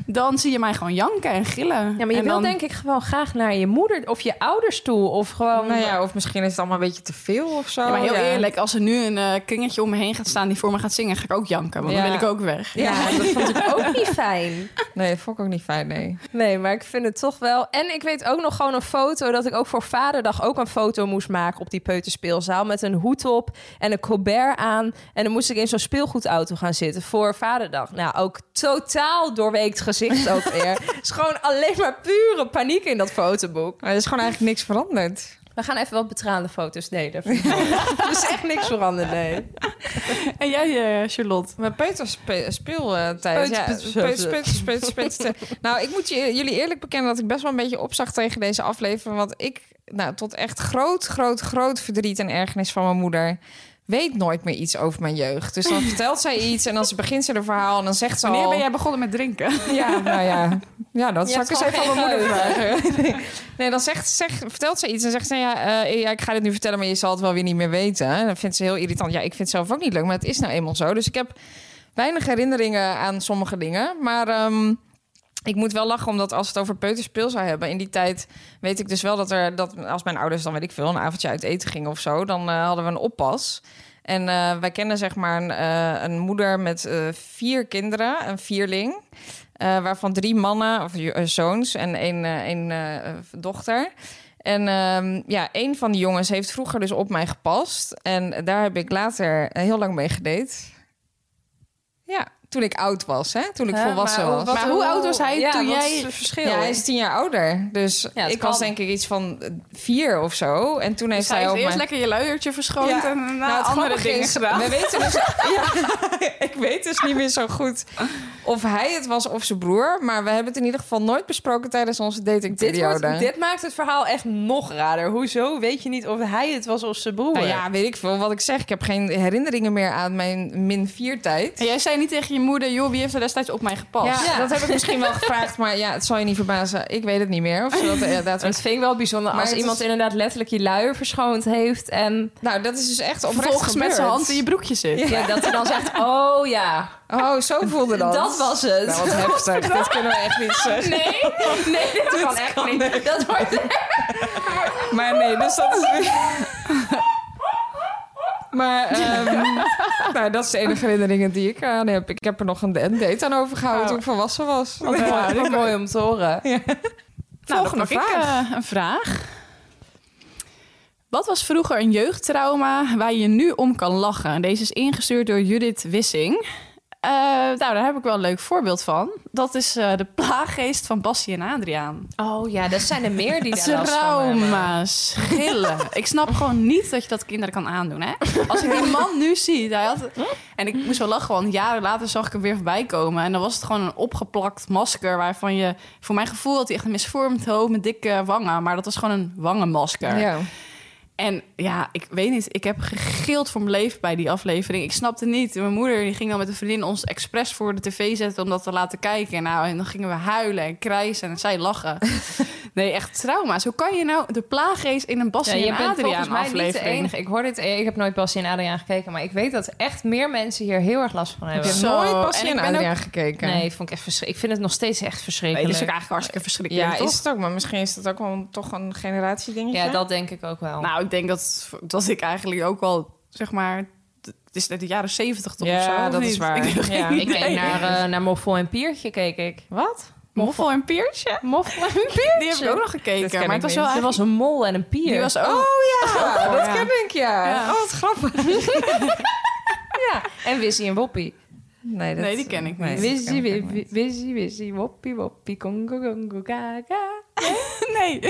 B: Dan dan zie je mij gewoon janken en gillen.
D: Ja, maar je
B: en
D: wil
B: dan-
D: denk ik gewoon graag naar je moeder of je ouders toe. Of gewoon...
C: Nou ja, of misschien is het allemaal een beetje te veel of zo.
B: Oh, Ja, maar heel
C: Ja.
B: eerlijk, als er nu een eh, kringetje om me heen gaat staan die voor me gaat zingen, ga ik ook janken. Want
C: Ja.
B: dan ben ik ook weg.
D: Ja, dat vond ik ook niet fijn.
C: Nee, dat vond ik ook niet fijn, nee.
D: Nee, maar ik vind het toch wel. En ik weet ook nog gewoon een foto dat ik ook voor Vaderdag ook een foto moest maken op die peuterspeelzaal. Met een hoed op en een colbert aan. En dan moest ik in zo'n speelgoedauto gaan zitten voor Vaderdag. Nou, ook totaal doorweekt gezicht ook weer. Het is gewoon alleen maar pure paniek in dat fotoboek.
C: Maar er is gewoon eigenlijk niks veranderd.
D: We gaan even wat betraande foto's delen. Er is echt niks veranderd, nee.
B: En jij, eh, Charlotte?
C: Mijn peuters speeltijd. eh, Ja,
D: Peuters-
C: peuters- peuters- peuters- peuters- Nou, ik moet je- jullie eerlijk bekennen dat ik best wel een beetje opzag tegen deze aflevering. Want ik, nou, tot echt groot, groot, groot verdriet en ergernis van mijn moeder... weet nooit meer iets over mijn jeugd. Dus dan vertelt zij iets en dan ze begint ze haar verhaal en dan zegt ze
B: Wanneer
C: al...
B: ben jij begonnen met drinken?
C: Ja, nou ja. Ja, dat
D: Je
C: zal ik
D: hebt
C: eens even aan
D: gewoon
C: mijn moeder
D: geen
C: vragen. Nee. Nee, dan zegt, zegt, vertelt ze iets en zegt ze... Nou ja, eh, ja, ik ga dit nu vertellen, maar je zal het wel weer niet meer weten. En dat vindt ze heel irritant. Ja, ik vind het zelf ook niet leuk, maar het is nou eenmaal zo. Dus ik heb weinig herinneringen aan sommige dingen. Maar ehm, ik moet wel lachen, omdat als we het over peuterspeel zou hebben... in die tijd weet ik dus wel dat er... Dat, als mijn ouders dan, weet ik veel, een avondje uit eten gingen of zo... dan eh, hadden we een oppas... En eh, wij kennen zeg maar een, eh, een moeder met eh, vier kinderen, een vierling. Eh, waarvan drie mannen, of eh, zoons en één, eh, één eh, eh, dochter. En ehm, ja, één van die jongens heeft vroeger dus op mij gepast. En daar heb ik later eh, heel lang mee gedate. Ja, toen ik oud was, hè? Toen ik volwassen was.
B: wat- Maar hoe oud was hij toen
D: wat
B: jij-
D: is het verschil?
C: ja, hij is tien jaar ouder. Dus
D: Ja, het
C: ik was
D: kan.
C: denk ik iets van eh, vier of zo. En toen
B: Dus
C: heeft
B: hij
C: hij
B: is
C: ook
B: eerst
C: mij...
B: lekker je luiertje verschoond
C: Ja.
B: en daarna
C: Nou, het
B: andere
C: grappige
B: dingen
C: is,
B: gedaan.
C: We weten dus, ja, ik weet dus niet meer zo goed of hij het was of zijn broer. Maar we hebben het in ieder geval nooit besproken tijdens onze
D: Dit,
C: datingperiode.
D: wordt, dit maakt het verhaal echt nog raarder. Hoezo weet je niet of hij het was of zijn broer?
C: Nou ja, weet ik veel wat ik zeg. Ik heb geen herinneringen meer aan mijn min vier tijd.
B: En jij zei niet tegen je moeder, joh, wie heeft er destijds op mij gepast?
C: Ja,
D: Ja.
C: dat heb ik misschien wel gevraagd. Maar ja, het zal je niet verbazen. Ik weet het niet meer. Of ze dat inderdaad
D: Het vind ik wel bijzonder
C: Maar
D: als
C: het
D: iemand
C: is-
D: inderdaad letterlijk je luier verschoond heeft. En
C: Nou, dat is dus echt oprecht
B: Vervolgens met zijn
C: gebeurd.
B: hand in je broekje zit.
D: ja. dat hij dan zegt, oh ja,
C: Oh, zo voelde dat.
D: dat, was het.
C: Nou, wat heftig. dat kunnen we echt niet zeggen.
D: Nee, nee, dat kan echt niet. Dat wordt
C: Maar nee, dus dat is. Maar ehm, nou, dat is de enige herinneringen die ik aan heb. Ik heb er nog een een date aan overgehouden
D: Oh.
C: toen ik volwassen was.
D: ja, mooi om te horen.
B: Nou, dan
C: Volgende
B: pak ik eh, een vraag. Wat was vroeger een jeugdtrauma waar je nu om kan lachen? Deze is ingestuurd door Judith Wissing. Eh, nou, daar heb ik wel een leuk voorbeeld van. Dat is eh, de plaaggeest van Bassie en Adriaan.
D: Oh ja, dat zijn er meer die daar last van hebben.
B: Trauma's, gillen. ik snap gewoon niet dat je dat kinderen kan aandoen. Hè? Als ik die man nu zie, hij had... en ik moest wel lachen, want jaren later zag ik hem weer voorbij komen. En dan was het gewoon een opgeplakt masker waarvan je, voor mijn gevoel, had hij echt een misvormd hoofd met dikke wangen. Maar dat was gewoon een wangenmasker.
C: Ja.
B: En ja, ik weet niet, ik heb gegild voor mijn leven bij die aflevering. Ik snapte niet. Mijn moeder die ging dan met een vriendin ons expres voor de tv zetten om dat te laten kijken. En Nou, en dan gingen we huilen en krijsen en zij lachen. nee, echt trauma's. Hoe kan je nou de plaaggeest in een
D: Ja,
B: Bassie
D: je
B: en
D: bent volgens
B: Adriaan
D: mij niet de
B: aflevering?
D: enige. Ik, hoor dit, ik heb nooit Bassie en Adriaan gekeken, maar ik weet dat echt meer mensen hier heel erg last van
C: Ik
D: hebben.
C: heb
B: Zo,
C: nooit
B: en
C: Passie
B: ik
C: en
B: ben ook-
C: Adriaan gekeken.
D: Nee, vond ik, echt verschrik- ik vind het nog steeds echt
B: Nee,
D: verschrikkelijk.
B: dat is ook eigenlijk hartstikke verschrikkelijk,
C: Ja,
B: toch?
C: is het ook. Maar misschien is dat ook wel toch een generatiedingetje.
D: ja, dat denk ik ook wel.
B: Nou, ik denk dat, dat ik eigenlijk ook wel, zeg maar... Het is net de jaren zeventig toch
C: Ja,
B: of zo? of
C: dat
B: niet?
C: is waar.
B: Ik heb geen
C: Ja.
D: ik
B: idee.
D: keek naar, eh, naar Moffel en Piertje, keek ik. Wat?
B: Moffel en Peertje.
D: Moffel en Piertje?
B: Die heb ik ook nog gekeken.
C: ken
B: Maar het
C: ik
B: was
C: niet.
B: wel
D: Er
B: eigenlijk...
D: was een mol en een pier.
B: Die was ook...
C: Ja, Ah, dat
B: Oh, Ja.
C: ken ik, ja.
B: Ja.
C: Oh, wat grappig.
D: Ja, en Wissie en Woppie.
C: Nee,
B: Nee, die ken ik niet.
C: dat ken
D: Wissie,
C: ik ook
D: wi-
C: niet.
D: Wissie, Wissie, Woppie, Woppie, Kongo, Kongo, Gaga. Nou,
B: Nee.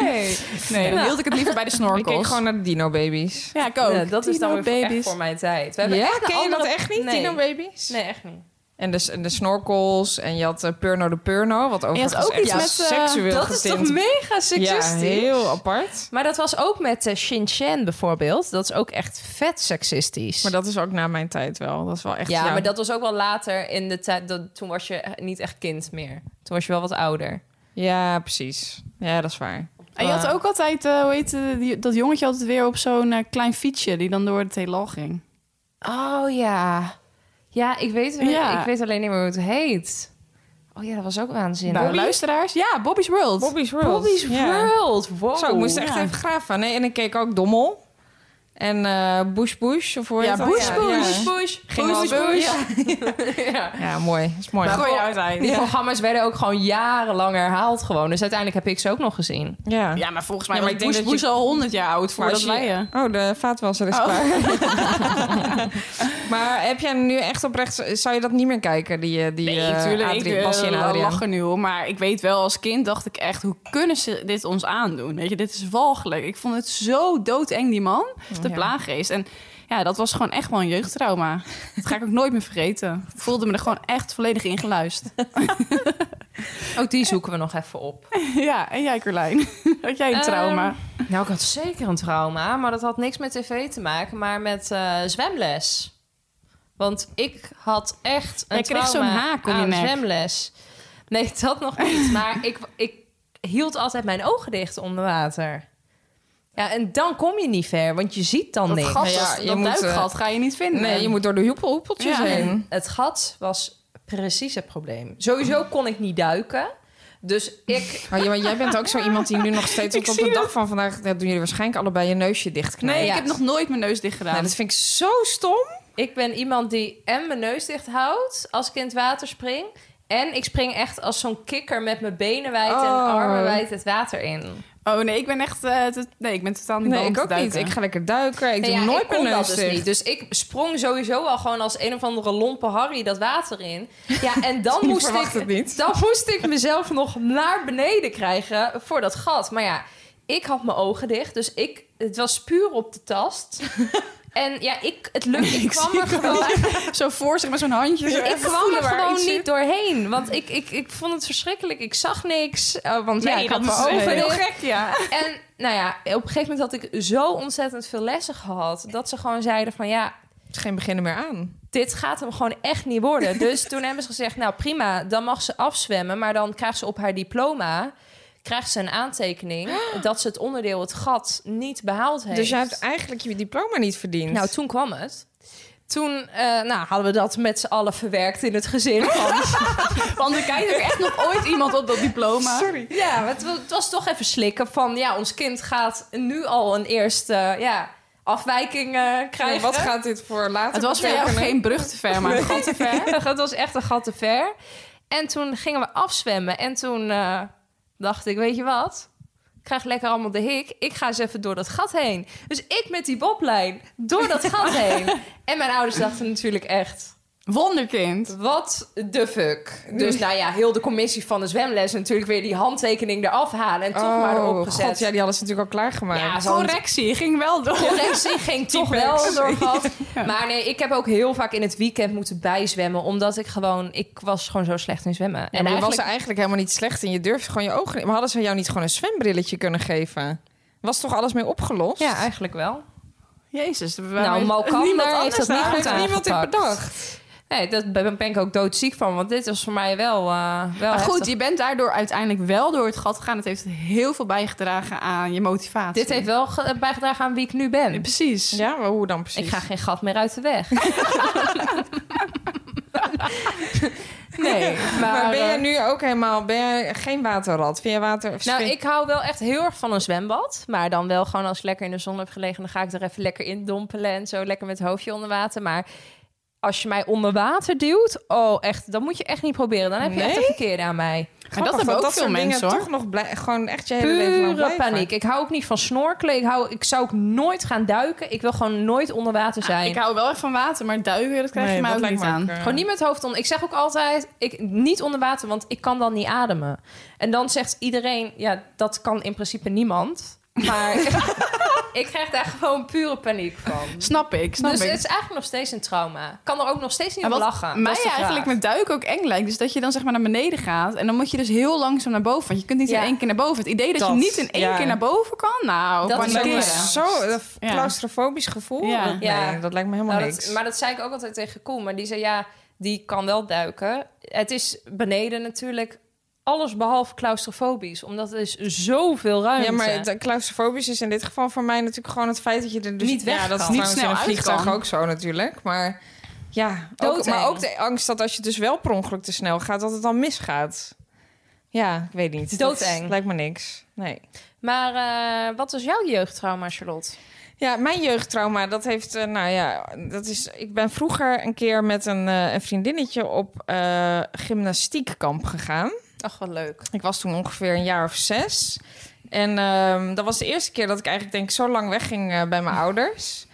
C: Nee.
B: Nee, dan hield ik het liever bij de
C: Ik keek
B: snorkels.
C: gewoon naar de dino-babies.
B: Ja, ik ook.
D: Ja, dat is dan
B: Dino
D: weer voor- nou echt voor mijn tijd. We hebben
C: ja?
D: echt een
C: ken je dat
D: andere-
C: echt niet,
D: Nee.
C: dino-babies?
D: Nee, echt niet.
C: En de, en de snorkels. En je had eh, Purno de Purno. Wat overigens
B: ook
C: echt
B: iets
C: wel
B: met, eh,
C: seksueel
D: Dat is
C: getint.
D: toch mega
C: Ja,
D: seksistisch?
C: heel apart.
D: Maar dat was ook met eh, Shin Chan bijvoorbeeld. Dat is ook echt vet seksistisch.
C: Maar dat is ook na mijn tijd wel. Dat is wel echt
D: ja,
C: jouw-
D: maar dat was ook wel later in de tijd. dat- Toen was je eh, niet echt kind meer. Toen was je wel wat ouder.
C: Ja, precies. Ja, dat is waar.
B: En je had ook altijd, eh, hoe heet eh, die- dat jongetje altijd weer op zo'n eh, klein fietsje die dan door het heelal ging.
D: Oh ja. Ja, ik weet,
B: Ja.
D: Ik weet alleen niet meer hoe het heet. Oh ja, dat was ook waanzinnig.
B: Nou, luisteraars, ja, Bobby's World.
C: Bobby's World.
D: Bobby's
C: Ja.
D: World. Wow.
C: Zo, ik moest echt
B: Ja.
C: even graven. Nee, en ik keek ook Dommel. En eh Bush Bush. Of hoe
B: Ja,
C: heet dat?
B: Bush
C: Ja,
B: Bush.
D: Bush.
C: Ging
D: Bush.
C: al-
D: Bush.
C: Ja. Ja, mooi. is mooi.
D: Maar-
B: Gooi je uit.
D: Die programma's werden ook gewoon jarenlang herhaald gewoon. Dus uiteindelijk heb ik ze ook nog gezien.
C: ja.
B: Ja, maar volgens mij
C: Ja, maar ik
B: was
C: denk
B: Bush
C: dat je-
B: Bush al 100 jaar oud
C: Maar
B: voordat
C: als
B: wij...
C: je-
B: eh,
C: Oh, de vaatwasser is
B: Oh.
C: klaar. maar heb jij nu echt oprecht... Zou je dat niet meer kijken, die, eh, die
B: Nee,
C: eh,
B: natuurlijk.
C: Adrie-
B: ik
C: Bassie en
B: eh,
C: Adriaan?
B: lach er nu om. Maar ik weet wel, als kind dacht ik echt... hoe kunnen ze dit ons aandoen? Weet je, dit is walgelijk. Ik vond het zo doodeng, die man. De
C: Ja.
B: plaaggeest. En ja, dat was gewoon echt wel een jeugdtrauma. Dat ga ik ook nooit meer vergeten. Ik voelde me er gewoon echt volledig in geluisterd.
D: Ook Oh, die zoeken we nog even op.
B: ja, en jij Carlijn? Had jij een
D: Ehm,
B: trauma?
D: Nou, ik had zeker een trauma, maar dat had niks met tv te maken, maar met eh, zwemles. Want ik had echt een
B: Jij kreeg
D: trauma
B: zo'n haak om je
D: aan
B: nek.
D: zwemles. Nee, dat nog niet. Maar ik, ik hield altijd mijn ogen dicht onder water. Ja, en dan kom je niet ver, want je ziet dan niks.
B: gat,
C: Ja,
B: dat
C: je moet, eh,
B: duikgat ga je niet vinden.
C: Nee, je moet door de hoepel, hoepeltjes
B: Ja.
C: heen.
D: Het gat was precies het probleem. Sowieso kon ik niet duiken. Dus ik
C: Maar, jij- maar jij bent ook zo iemand die nu nog steeds tot op de dag van vandaag... Dat doen jullie waarschijnlijk allebei je neusje dichtknijpen.
B: Nee, ik
D: Ja.
B: heb nog nooit mijn neus dicht gedaan.
C: Nou, dat vind ik zo stom.
D: Ik ben iemand die en mijn neus dicht houdt als ik in het water spring. En ik spring echt als zo'n kikker met mijn benen wijd
C: Oh.
D: en armen wijd het water in.
B: Oh nee, ik ben echt... eh, te- nee, ik ben totaal niet bang
C: Nee,
B: om
C: ik
B: te
C: ook niet.
B: duiken.
C: Ik ga lekker duiken. Ik
D: Nou
C: doe
D: ja,
C: nooit
D: ik kon
C: mijn neus
D: dat dus
C: dicht.
D: niet. Dus ik sprong sowieso al gewoon als een of andere lompe Harry dat water in. Ja, en dan,
C: Je
D: moest,
C: verwacht het
D: ik,
C: niet.
D: dan moest ik mezelf nog naar beneden krijgen voor dat gat. Maar ja, ik had mijn ogen dicht. Dus ik, het was puur op de tast. En ja, ik, het lukte. Ik kwam er gewoon
B: Zo voor zich met zo'n handje. zo
D: ik
B: even
D: kwam
B: voelen
D: er
B: waar
D: gewoon
B: iets
D: niet
B: zit.
D: doorheen. Want ik, ik, ik vond het verschrikkelijk. Ik zag niks. eh, want ja,
B: Nee,
D: ik had
B: dat
D: mijn
B: is
D: ogen
B: heel
D: dicht.
B: gek, ja.
D: En nou ja, op een gegeven moment had ik zo ontzettend veel lessen gehad. Dat ze gewoon zeiden van ja,
C: Het is geen beginnen meer aan.
D: dit gaat hem gewoon echt niet worden. Dus toen hebben ze gezegd, nou prima, dan mag ze afzwemmen. Maar dan krijgt ze op haar diploma krijgt ze een aantekening... dat ze het onderdeel, het gat, niet behaald heeft.
C: Dus jij hebt eigenlijk je diploma niet verdiend.
D: Nou, toen kwam het. Toen eh, nou, hadden we dat met z'n allen verwerkt in het gezin. Van,
B: Want er kijkt ook echt nog ooit iemand op dat diploma. Sorry.
D: Ja, maar het, wa- het was toch even slikken van... ja, ons kind gaat nu al een eerste ja, afwijking eh, krijgen.
C: wat gaat dit voor later?
B: Het was voor jou
C: betekenen?
B: geen brug te ver, maar een gat te ver.
D: Het was echt een gat te ver. En toen gingen we afzwemmen. En toen eh, dacht ik, weet je wat? Ik krijg lekker allemaal de hik. Ik ga eens even door dat gat heen. Dus ik met die boblijn door dat gat heen. En mijn ouders dachten natuurlijk echt...
B: Wonderkind.
D: Wat de fuck? Dus nou ja, heel de commissie van de zwemles natuurlijk weer die handtekening eraf halen en toch maar
B: Oh,
D: erop gezet.
C: Oh, God, ja, die hadden ze natuurlijk al klaargemaakt.
D: Ja, zo-
B: Correctie, ging wel door.
D: correctie ging toch wel
B: Feedbacks.
D: door gat. Maar nee, ik heb ook heel vaak in het weekend moeten bijzwemmen. Omdat ik gewoon... Ik was gewoon zo slecht in zwemmen.
C: en je was er eigenlijk helemaal niet slecht in. Je durfde gewoon je ogen... niet- Maar hadden ze jou niet gewoon een zwembrilletje kunnen geven? Was toch alles mee opgelost?
D: Ja, eigenlijk wel.
B: Jezus.
D: Nou, Malkander heeft dat niet
C: Daar
D: goed
C: heeft niemand in
D: aangepakt.
C: bedacht.
D: Nee, daar ben ben ik ook doodziek van. Want dit was voor mij wel, eh wel
B: Maar goed,
D: heftig.
B: je bent daardoor uiteindelijk wel door het gat gegaan. Het heeft heel veel bijgedragen aan je motivatie.
D: Dit heeft wel ge- bijgedragen aan wie ik nu ben.
B: Precies.
C: Ja, maar hoe dan precies?
D: Ik ga geen gat meer uit de weg. nee, maar,
C: maar ben
D: eh,
C: jij nu ook helemaal... Ben jij geen waterrat? Vind jij water... of
D: Nou,
C: vind-
D: ik hou wel echt heel erg van een zwembad. Maar dan wel gewoon als ik lekker in de zon heb gelegen... dan ga ik er even lekker in dompelen en zo. Lekker met het hoofdje onder water. Maar als je mij onder water duwt... oh, echt, dan moet je echt niet proberen. Dan heb je echt een
C: Nee?
D: verkeerde aan mij.
B: Maar dat
C: Grappig,
B: hebben ook veel
C: dat soort dingen
B: mensen, hoor.
C: toch nog blij- gewoon echt je hele leven lang
D: Pure
C: blijven.
D: paniek. Ik hou ook niet van snorkelen. Ik, hou, ik zou ook nooit gaan duiken. Ik wil gewoon nooit onder water zijn.
B: Ik hou wel echt van water, maar duiken, dat krijg
C: Nee,
B: je mij
C: dat
B: ook
C: lijkt
B: niet
C: me
B: aan.
C: ook, eh,
D: Gewoon niet met het hoofd onder. Ik zeg ook altijd, ik, niet onder water, want ik kan dan niet ademen. En dan zegt iedereen, ja, dat kan in principe niemand. Maar ik krijg daar gewoon pure paniek van.
B: Snap ik, snap
D: dus
B: ik.
D: het is eigenlijk nog steeds een trauma. Ik kan er ook nog steeds niet
B: En
D: om
B: wat
D: lachen. Dat
B: mij
D: is de vraag.
B: eigenlijk met duiken ook eng lijkt, is dat je dan zeg maar naar beneden gaat en dan moet je dus heel langzaam naar boven. Want je kunt niet
D: Ja.
B: in één keer naar boven. Het idee dat,
C: Dat,
B: je niet in één
C: ja.
B: keer naar boven kan, nou,
D: Dat is
C: Dat
D: ook
B: panikeren.
D: wel
C: is zo dat
B: Ja.
C: claustrofobisch gevoel.
B: Ja.
C: Dat,
D: Ja.
C: nee, dat lijkt me helemaal
D: Nou,
C: niks.
D: dat, maar dat zei ik ook altijd tegen Koen. Maar die zei, ja, die kan wel duiken. Het is beneden natuurlijk alles behalve claustrofobisch. Omdat er is zoveel ruimte.
C: Ja, maar het- eh, claustrofobisch is in dit geval voor mij natuurlijk gewoon het feit dat je er dus
D: Niet weg
C: Ja, dat is
D: kan.
C: trouwens
B: Niet snel
C: in een
B: uit
C: vliegtuig
B: kan.
C: ook zo natuurlijk. Maar Ja, ook,
D: Doodeng.
C: maar ook de angst dat als je dus wel per ongeluk te snel gaat, dat het dan misgaat. Ja, ik weet niet. Dat
D: Doodeng.
C: lijkt me niks. Nee.
D: Maar eh, wat was jouw jeugdtrauma, Charlotte?
C: Ja, mijn jeugdtrauma, dat heeft, eh, nou ja, dat is. Ik ben vroeger een keer met een, eh, een vriendinnetje op eh, gymnastiekkamp gegaan.
D: Ach, wat leuk.
C: Ik was toen ongeveer een jaar of zes. En ehm, dat was de eerste keer dat ik eigenlijk denk ik zo lang wegging eh, bij mijn ouders.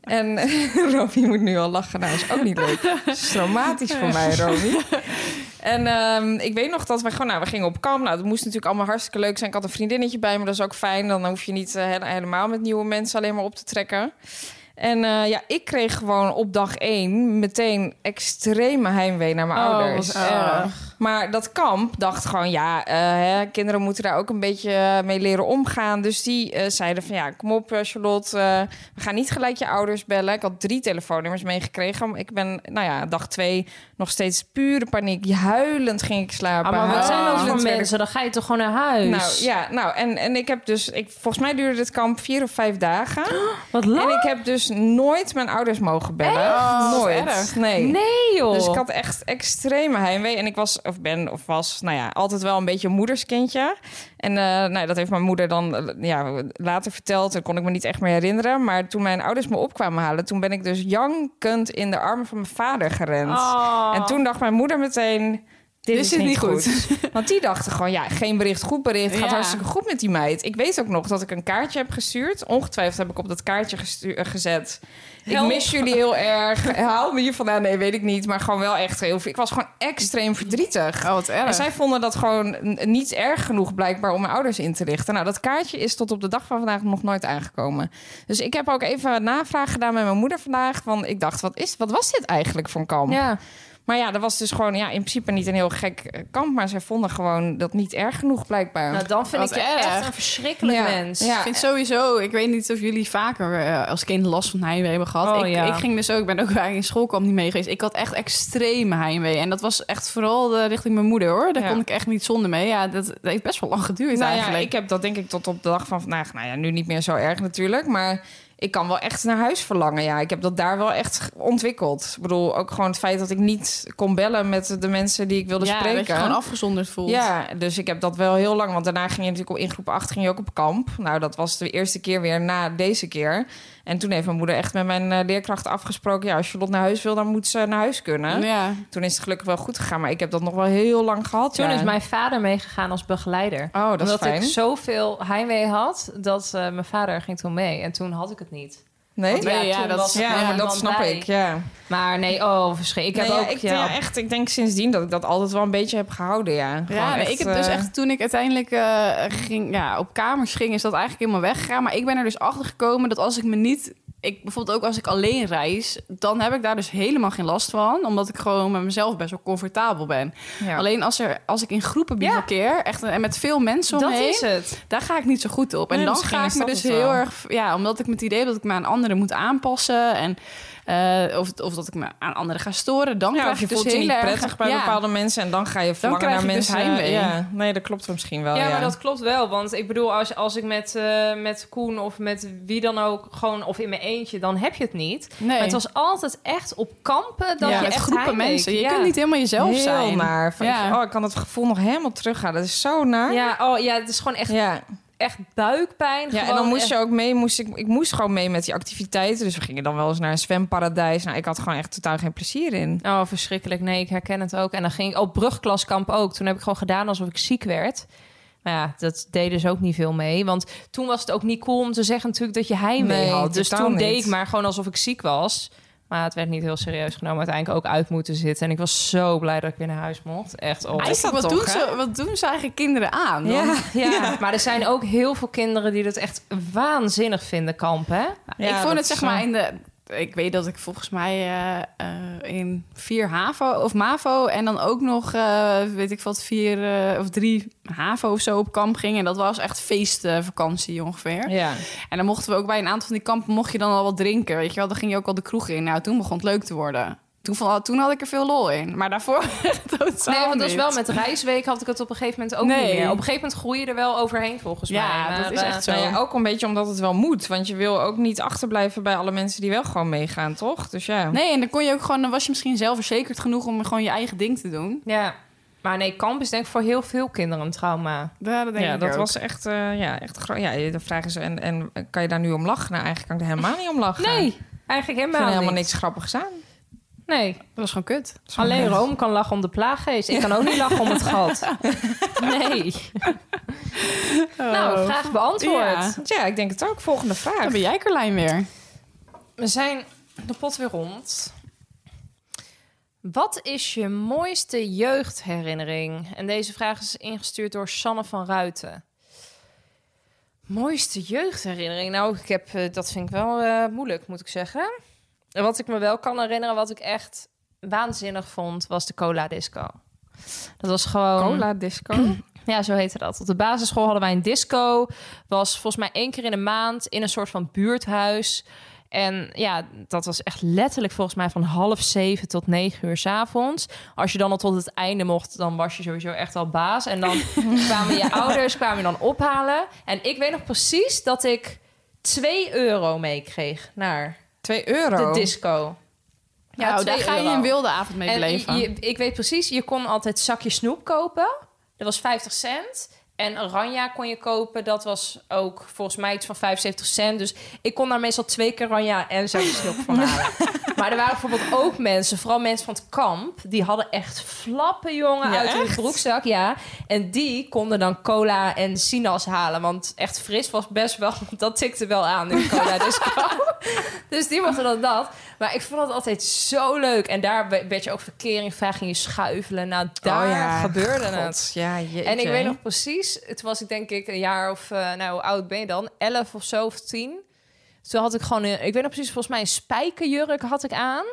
C: En Romy moet nu al lachen. Nou, is ook niet leuk. Het is traumatisch voor mij, Romy. En ehm, ik weet nog dat we gewoon, nou, we gingen op kamp. Nou, dat moest natuurlijk allemaal hartstikke leuk zijn. Ik had een vriendinnetje bij me, dat is ook fijn. Dan hoef je niet eh, he- helemaal met nieuwe mensen alleen maar op te trekken. En eh, ja, ik kreeg gewoon op dag één meteen extreme heimwee naar mijn ouders. Maar dat kamp dacht gewoon, ja, eh, hè, kinderen moeten daar ook een beetje eh, mee leren omgaan. Dus die eh, zeiden van, ja, kom op eh, Charlotte, eh, we gaan niet gelijk je ouders bellen. Ik had drie telefoonnummers meegekregen. Ik ben, nou ja, dag twee nog steeds pure paniek. Huilend ging ik slapen.
D: Ah, maar wat zijn dat
C: Huilend
D: voor
C: werd ik
D: mensen? dus? Dan ga je toch gewoon naar huis?
C: nou ja, nou en, en ik heb dus, ik, volgens mij duurde dit kamp vier of vijf dagen.
D: Wat
C: En
D: lang?
C: ik heb dus nooit mijn ouders mogen bellen. Nooit. Nee.
D: Nee, joh.
C: Dus ik had echt extreme heimwee. En ik was, of ben, of was, nou ja, altijd wel een beetje een moederskindje. En eh, nou, dat heeft mijn moeder dan eh, ja, later verteld. Dat kon ik me niet echt meer herinneren. Maar toen mijn ouders me opkwamen halen, toen ben ik dus jankend in de armen van mijn vader gerend.
D: Oh. Ah.
C: En toen dacht mijn moeder meteen. Dit is, niet goed. Want die dachten gewoon, ja, geen bericht, goed bericht. Gaat
B: Ja.
C: hartstikke goed met die meid. Ik weet ook nog dat ik een kaartje heb gestuurd. Ongetwijfeld heb ik op dat kaartje gestu- eh, gezet. Ik mis jullie heel erg. Haal me hier vandaan. Nee, weet ik niet. Maar gewoon wel echt heel veel. Ik was gewoon extreem verdrietig.
B: Oh, wat erg.
C: En zij vonden dat gewoon n- niet erg genoeg blijkbaar om mijn ouders in te richten. Nou, dat kaartje is tot op de dag van vandaag nog nooit aangekomen. Dus ik heb ook even wat navraag gedaan met mijn moeder vandaag. Want ik dacht, wat, is, wat was dit eigenlijk voor een kamp?
D: Ja.
C: Maar ja, dat was dus gewoon ja, in principe niet een heel gek eh, kamp. Maar zij vonden gewoon dat niet erg genoeg blijkbaar.
D: Nou, dan vind
B: Wat
D: ik je
B: erg.
D: echt een verschrikkelijk
C: Ja.
D: mens.
C: Ja.
B: Ik vind sowieso, ik weet niet of jullie vaker eh, als kind last van heimwee hebben gehad.
D: Oh,
B: ik,
D: ja.
B: ik ging dus ook, ik ben ook eigenlijk in schoolkamp niet mee geweest. Ik had echt extreme heimwee. En dat was echt vooral eh, richting mijn moeder hoor. Daar
C: Ja.
B: kon ik echt niet zonder mee. Ja, dat, dat heeft best wel lang geduurd
C: nou ja,
B: eigenlijk.
C: ik heb dat denk ik tot op de dag van vandaag. Nou ja, nu niet meer zo erg natuurlijk. Maar ik kan wel echt naar huis verlangen. Ja, ik heb dat daar wel echt ge- ontwikkeld. Ik bedoel, ook gewoon het feit dat ik niet kon bellen met de mensen die ik wilde
B: ja,
C: spreken.
B: dat je gewoon afgezonderd voelt.
C: Ja, dus ik heb dat wel heel lang. Want daarna ging je natuurlijk op in groep 8 ging je ook op kamp. Nou, dat was de eerste keer weer na deze keer. En toen heeft mijn moeder echt met mijn eh, leerkracht afgesproken. Ja, als Charlotte naar huis wil, dan moet ze naar huis kunnen.
B: Ja.
C: Toen is het gelukkig wel goed gegaan. Maar ik heb dat nog wel heel lang gehad.
D: Toen
C: ja.
D: is mijn vader meegegaan als begeleider.
C: Oh, dat is
D: Omdat
C: fijn.
D: ik zoveel heimwee had, dat eh, mijn vader ging toen mee. En toen had ik het niet.
C: Nee?
B: Nee, ja,
D: toen
B: dat-
D: was er
C: Ja,
D: maar
C: maar
D: een
C: dat
D: man
C: snap
D: bij.
C: ik, ja.
D: Maar nee, oh, verschrik. Ik heb
C: Nee, ja,
D: ook...
C: ik,
D: ja.
C: ja, echt, ik denk sindsdien dat ik dat altijd wel een beetje heb gehouden, ja. Gewoon
B: Ja, nee,
C: echt,
B: ik heb dus
C: eh,
B: echt toen ik uiteindelijk eh, ging, ja, op kamers ging, is dat eigenlijk helemaal weggegaan. Maar ik ben er dus achter gekomen dat als ik me niet. Ik, bijvoorbeeld ook als ik alleen reis, dan heb ik daar dus helemaal geen last van. Omdat ik gewoon met mezelf best wel comfortabel ben.
C: ja.
B: Alleen als, er, als ik in groepen
D: Ja.
B: bivakkeer, echt en met veel mensen
D: dat
B: omheen,
D: is het.
B: daar ga ik niet zo goed op.
C: Nee,
B: en dan
C: misschien
B: ga
C: is
B: ik me
C: dat
B: dus
C: het wel.
B: heel erg, ja, omdat ik met het idee heb dat ik me aan anderen moet aanpassen en eh, of, of dat ik me aan anderen ga storen, dan
C: Ja,
B: krijg
C: of je
B: ik dus
C: voelt je
B: heel
C: niet
B: erg-
C: prettig bij
B: ja.
C: bepaalde mensen... en dan ga je verlangen
B: krijg
C: naar
B: je dus
C: mensen.
B: heimwee.
C: ja, nee, dat klopt er misschien wel, ja.
D: ja, maar dat klopt wel. Want ik bedoel, als, als ik met, eh, met Koen of met wie dan ook... gewoon of in mijn eentje, dan heb je het niet.
B: Nee.
D: Maar het was altijd echt op kampen dat
B: ja,
D: je
B: met
D: echt
B: groepen
D: heimwee
B: mensen. Je
D: kreeg.
B: kunt niet helemaal jezelf
C: Heel
B: zijn.
C: naar. Van,
B: Ja.
C: Oh, ik kan dat gevoel nog helemaal teruggaan. Dat is zo naar. Ja.
D: Ja, oh, ja, het is gewoon echt,
C: Ja.
D: echt buikpijn.
C: en dan moest je ook mee. Moest ik, ik moest gewoon mee met die activiteiten. Dus we gingen dan wel eens naar een zwemparadijs. Nou, ik had gewoon echt totaal geen plezier in.
D: Oh, verschrikkelijk. Nee, ik herken het ook. En dan ging ik op brugklaskamp ook. Toen heb ik gewoon gedaan alsof ik ziek werd. Maar ja, dat deed dus ook niet veel mee. Want toen was het ook niet cool om te zeggen natuurlijk dat je heimwee
C: Nee,
D: had. Dus
C: totaal
D: toen
C: niet.
D: deed ik maar gewoon alsof ik ziek was. Maar het werd niet heel serieus genomen. Uiteindelijk ook uit moeten zitten. En ik was zo blij dat ik weer naar huis mocht. Echt, oh.
B: Eigenlijk,
C: dat
B: wat,
C: toch,
B: doen
C: hè?
B: ze, wat doen ze eigenlijk kinderen aan?
C: Ja.
B: Want-
D: Ja, maar er zijn ook heel veel kinderen die dat echt waanzinnig vinden, kamp, hè?
C: Ja,
B: ik vond
C: dat
B: het zeg
C: is,
B: maar
C: eh,
B: in de... Ik weet dat ik volgens mij eh, eh, in vier HAVO of MAVO... en dan ook nog, eh, weet ik wat, vier eh, of drie HAVO of zo op kamp ging. En dat was echt feestvakantie ongeveer.
C: Ja.
B: En dan mochten we ook bij een aantal van die kampen... mocht je dan al wat drinken, weet je wel. Dan ging je ook al de kroeg in. Nou, toen begon het leuk te worden. Toen, van, toen had ik er veel lol in. Maar daarvoor totaal
D: Nee, want dat
B: niet.
D: is wel met reisweek had ik het op een gegeven moment ook
B: Nee.
D: niet meer. Op een gegeven moment groei je er wel overheen volgens
B: Ja,
D: mij.
B: dat is
D: eh,
B: echt zo.
C: Nou ja, ook een beetje omdat het wel moet. Want je wil ook niet achterblijven bij alle mensen die wel gewoon meegaan, toch? Dus
D: Oh.
C: ja.
B: Nee, en dan kon je ook gewoon, dan was je misschien zelfverzekerd genoeg om gewoon je eigen ding te doen.
D: Ja. Maar nee, kamp is denk ik voor heel veel kinderen een trauma.
B: Ja, dat
C: ja, dat was echt, eh, ja, echt groot. Ja, de vraag is, en, en kan je daar nu om lachen? Nou, eigenlijk kan ik er helemaal niet om lachen. Ik
D: Nee, eigenlijk
C: vind er
D: helemaal,
C: helemaal
D: niet.
C: niks grappigs aan.
D: Nee,
B: dat was gewoon kut.
D: alleen Rome kan lachen om de plaaggeest. Ik kan ook niet lachen om het gat. Nee. Nou, vraag beantwoord.
B: Ja.
C: Ja, ik denk het ook. Volgende vraag.
B: Dan ben jij Carlijn weer.
D: We zijn de pot weer rond. Wat is je mooiste jeugdherinnering? En deze vraag is ingestuurd door Sanne van Ruiten. Mooiste jeugdherinnering? Nou, ik heb, eh, dat vind ik wel eh, moeilijk, moet ik zeggen. En Wat ik me wel kan herinneren, wat ik echt waanzinnig vond, was de cola disco. Dat was gewoon...
C: Cola disco.
D: Ja, zo heette dat. Op de basisschool hadden wij een disco. Was volgens mij één keer in de maand in een soort van buurthuis. En ja, dat was echt letterlijk volgens mij van half zeven tot negen uur 's avonds. Als je dan al tot het einde mocht, dan was je sowieso echt al baas. En dan kwamen je ouders kwamen je dan ophalen. En ik weet nog precies dat ik 2 euro meekreeg naar
C: 2 euro.
D: de disco.
B: Ja, Nou,
D: twee
B: daar ga je
D: euro.
B: een wilde avond mee
D: En
B: beleven.
D: je- je- ik weet precies, je kon altijd zakje snoep kopen. Dat was 50 cent. En oranje kon je kopen. Dat was ook volgens mij iets van 75 cent. Dus ik kon daar meestal twee keer oranje en zakje snoep van halen. maar er waren bijvoorbeeld ook mensen, vooral mensen van het kamp... die hadden echt flappen, jongen,
C: Ja,
D: uit hun broekzak. Ja. En die konden dan cola en sinaas halen. Want echt fris was best wel... Dat tikte wel aan in de cola disco. dus die mochten dan dat. Maar ik vond het altijd zo leuk. En daar we- werd je ook verkering vraag ging je schuifelen. Nou, daar
C: Oh ja,
D: gebeurde het.
C: God, Ja, jeetje.
D: En ik weet nog precies, het was ik denk ik een jaar of, eh, nou hoe oud ben je dan? Elf of zo of tien. Toen had ik gewoon, een, ik weet nog precies, volgens mij een spijkerjurk had ik aan.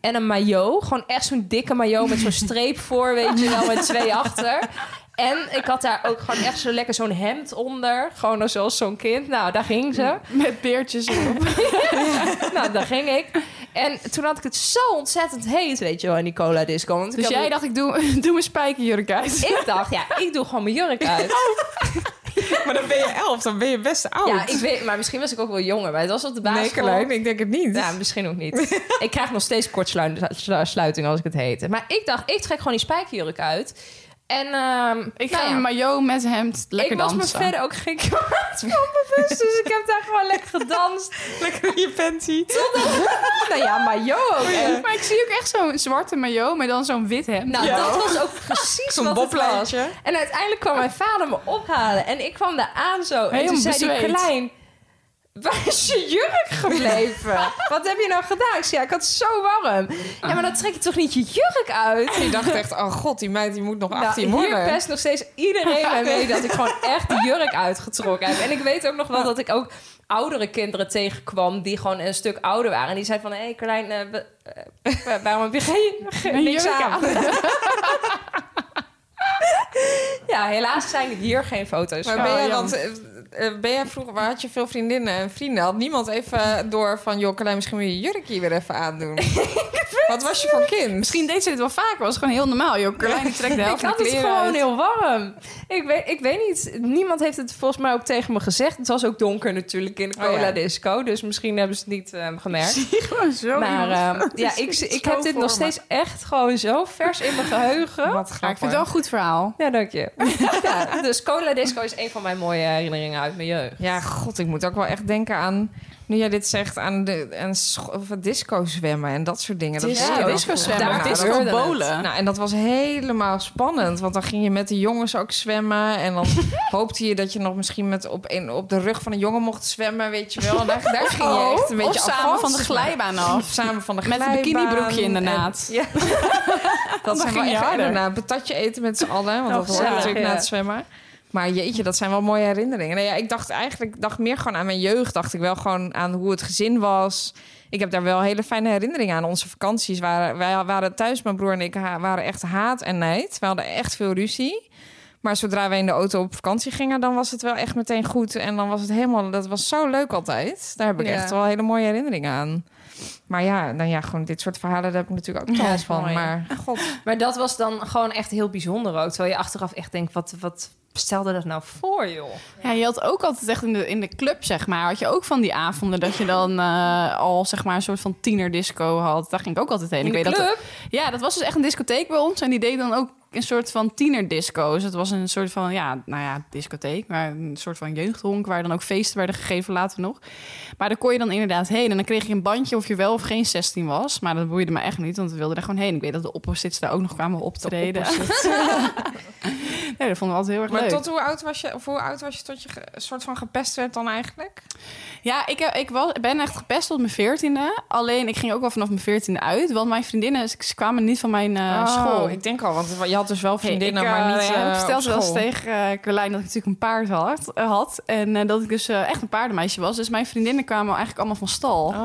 D: En een maillot, gewoon echt zo'n dikke maillot met zo'n streep voor, weet je wel, met twee achter. En ik had daar ook gewoon echt zo lekker zo'n hemd onder. Gewoon zoals zo'n kind. Nou, daar ging ze.
B: Met beertjes erop.
D: Nou, daar ging ik. En toen had ik het zo ontzettend heet, weet je wel, in die cola disco. Want ik
B: Dus
D: had-
B: jij dacht, ik doe, doe mijn spijkerjurk uit.
D: Ik dacht, ja, ik doe gewoon mijn jurk uit.
C: Maar dan ben je elf, dan ben je best oud.
D: Ja, ik weet, maar misschien was ik ook wel jonger. Maar het was op de
C: Oh. nee,
D: basisschool.
C: Carlijn, ik denk het niet.
D: Ja, misschien ook niet. ik krijg nog steeds kortsluiting als ik het heet. Maar ik dacht, ik trek gewoon die spijkerjurk uit. En ehm,
B: Ik
D: nou
B: ga
D: ja,
B: een maillot met hemd lekker
D: ik was me
B: dansen.
D: verder ook geen kwaad van bewust. Dus ik heb daar gewoon lekker gedanst.
C: Lekker in je panty.
D: nou ja, maar jo. ook. En-
B: Maar ik zie ook echt zo'n zwarte maillot, maar dan zo'n wit hemd.
D: Nou,
C: Ja.
D: dat was ook precies
C: Zo'n
D: wat het was.
C: boblijntje.
D: En uiteindelijk kwam mijn vader me ophalen. En ik kwam daar aan zo. En
B: Helemaal
D: toen zei hij,
B: bezweet.
D: Klein, waar is je jurk gebleven? Wat heb je nou gedaan? Ik zei, ja, ik had het zo warm. Ja, maar dan trek je toch niet je jurk uit?
C: Ik dacht echt, oh god, die meid die moet nog 18
D: Nou, hier
C: worden.
D: pest nog steeds iedereen mij mee dat ik gewoon echt de jurk uitgetrokken heb. En ik weet ook nog wel dat ik ook oudere kinderen tegenkwam die gewoon een stuk ouder waren. En die zeiden van, hé hey, Carlijn, eh, we- eh, waarom heb je geen, geen-
B: Een
D: niks
B: jurk
D: aan? ja, helaas zijn hier geen foto's
C: Maar
D: van.
C: ben jij,
B: ja.
C: want, eh, eh, ben jij vroeger, waar had je veel vriendinnen en vrienden? Had niemand even eh, door van, joh, Carlijn, misschien moet je je jurkje weer even aandoen? Wat was je voor kind?
B: Misschien deed ze dit wel vaker, was gewoon heel normaal. Joh, Carlijn, ik trek de helft van
D: Ik
B: de
D: had het
B: kleren
D: gewoon
B: uit.
D: heel warm. Ik weet, ik weet niet. Niemand heeft het volgens mij ook tegen me gezegd. Het was ook donker natuurlijk in de
C: Oh ja.
D: cola disco. Dus misschien hebben ze het niet eh, gemerkt.
B: Gewoon zo
D: Maar
B: iemand.
D: ehm, ja, ik,
B: Zo
D: ik heb dit
B: voor
D: nog
B: me.
D: steeds echt gewoon zo vers in mijn geheugen.
C: Wat
B: Maar ik
C: grappig.
B: vind het wel een goed verhaal.
D: Ja, dank je. ja, dus Cola Disco is een van mijn mooie herinneringen uit mijn jeugd.
C: Ja, god, ik moet ook wel echt denken aan, nu jij dit zegt, aan, de, aan scho- of het disco zwemmen en dat soort dingen. Dat
B: Disco-
C: deed je dan
B: disco
C: vroeger.
B: zwemmen.
C: Ja,
B: Daar
C: dat-
B: disco bowlen.
C: Nou, en dat was helemaal spannend, want dan ging je met de jongens ook zwemmen. En dan hoopte je dat je nog misschien met op, een, op de rug van een jongen mocht zwemmen, weet je wel. En daar, daar ging je echt een beetje
B: Oh, of samen
C: avast
B: van de glijbaan
C: Of
B: af.
C: samen van de
B: Met een
C: glijbaan.
B: bikinibroekje
C: En-
B: inderdaad.
C: ja. dat zijn wel
B: ging je
C: echt
B: harder.
C: inderdaad patatje eten met z'n allen. Want
D: Oh,
C: dat hoort
D: gezellig,
C: natuurlijk
D: ja.
C: na het zwemmen. Maar jeetje, dat zijn wel mooie herinneringen. Nee, ja, ik dacht eigenlijk dacht meer gewoon aan mijn jeugd. Dacht ik wel gewoon aan hoe het gezin was. Ik heb daar wel hele fijne herinneringen aan. Onze vakanties waren... Wij waren thuis, mijn broer en ik, ha- waren echt haat en nijd. We hadden echt veel ruzie. Maar zodra wij in de auto op vakantie gingen... dan was het wel echt meteen goed. En dan was het helemaal... Dat was zo leuk altijd. Daar heb ik
D: Ja.
C: echt wel hele mooie herinneringen aan. Maar ja, dan ja, gewoon dit soort verhalen, daar heb ik natuurlijk ook kennis van.
D: mooi.
C: Maar god,
D: Maar dat was dan gewoon echt heel bijzonder ook. Terwijl je achteraf echt denkt, wat, wat stelde dat nou voor, joh?
B: Ja, je had ook altijd echt in de, in de club, zeg maar. Had je ook van die avonden dat je dan eh, al zeg maar een soort van tienerdisco had. Daar ging ik ook altijd heen. ik
D: de
B: weet Dat, ja, dat was dus echt een discotheek bij ons. En die deed dan ook een soort van tienerdisco. Dus het was een soort van, ja, nou ja, discotheek. Maar een soort van jeugdhonk waar dan ook feesten werden gegeven later nog. Maar daar kon je dan inderdaad heen. En dan kreeg je een bandje of je wel of geen 16 was. Maar dat boeide me echt niet, want we wilden daar gewoon heen. Ik weet dat de opposits daar ook nog kwamen optreden. nee, dat vonden we altijd heel erg
C: maar
B: leuk.
C: tot hoe oud was je, of hoe oud was je tot je ge- soort van gepest werd dan eigenlijk?
B: Ja, ik, heb- ik was, ben echt gepest tot mijn veertiende. Alleen, ik ging ook wel vanaf mijn veertiende uit. Want mijn vriendinnen, ze ze kwamen niet van mijn eh,
C: Oh,
B: school.
C: Ik denk al, want je had dus wel
B: Hey,
C: vriendinnen,
B: ik, eh,
C: maar niet
B: ja,
C: eh,
B: ik
C: op
B: vertelde wel eens
C: school.
B: tegen eh Carlijn dat ik natuurlijk een paard had. eh, had en eh, dat ik dus eh, echt een paardenmeisje was. Dus mijn vriendinnen kwamen eigenlijk allemaal van stal.
C: Oh,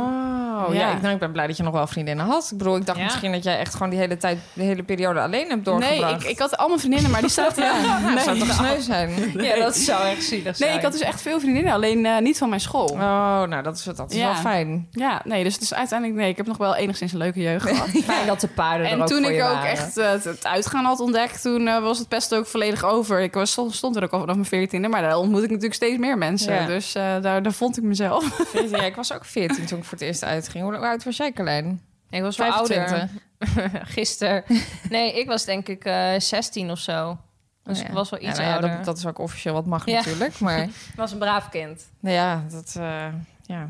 C: ja.
B: Ja.
C: ik, nou, ik ben blij dat je nog wel vriendinnen had. Ik bedoel, ik dacht
D: Ja.
C: misschien dat jij echt gewoon die hele tijd, de hele periode alleen hebt
B: nee,
C: doorgebracht.
B: ik, ik had allemaal vriendinnen, maar die zaten...
C: Ja, dat zou toch sneu zijn?
D: Ja, dat zou echt zielig zijn.
B: Nee, ik had dus echt veel vriendinnen, alleen eh, niet van mijn school.
C: Oh, nou, dat is, dat is
B: Ja.
C: wel fijn.
B: Ja, nee, dus het is uiteindelijk... Nee, ik heb nog wel enigszins een leuke jeugd gehad.
D: Fijn dat de paarden er
B: En
D: ook
B: toen
D: voor
B: ik
D: je
B: ook
D: waren.
B: echt eh, het, het uitgaan had ontdekt, toen eh, was het pesten ook volledig over. Ik was, stond, stond er ook al vanaf mijn veertiende, maar daar ontmoet ik natuurlijk steeds meer mensen.
C: Ja.
B: Dus eh, daar, daar vond ik mezelf.
C: Ja, ik was ook 14 toen ik voor het eerst uitging. Hoe oud was jij, Carlijn? Oh,
D: Ik was wel
C: 25.
D: ouder gisteren. Nee, ik was denk ik eh 16 of zo. Dus ik was wel iets
C: ja, nou ja,
D: ouder.
C: Dat, dat is ook officieel wat mag
D: Ja.
C: natuurlijk. Maar
D: Ik was een braaf kind.
C: nou ja, dat... eh, ja.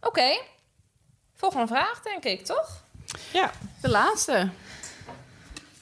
D: Oké. Volgende vraag, denk ik, toch?
C: ja,
B: De laatste.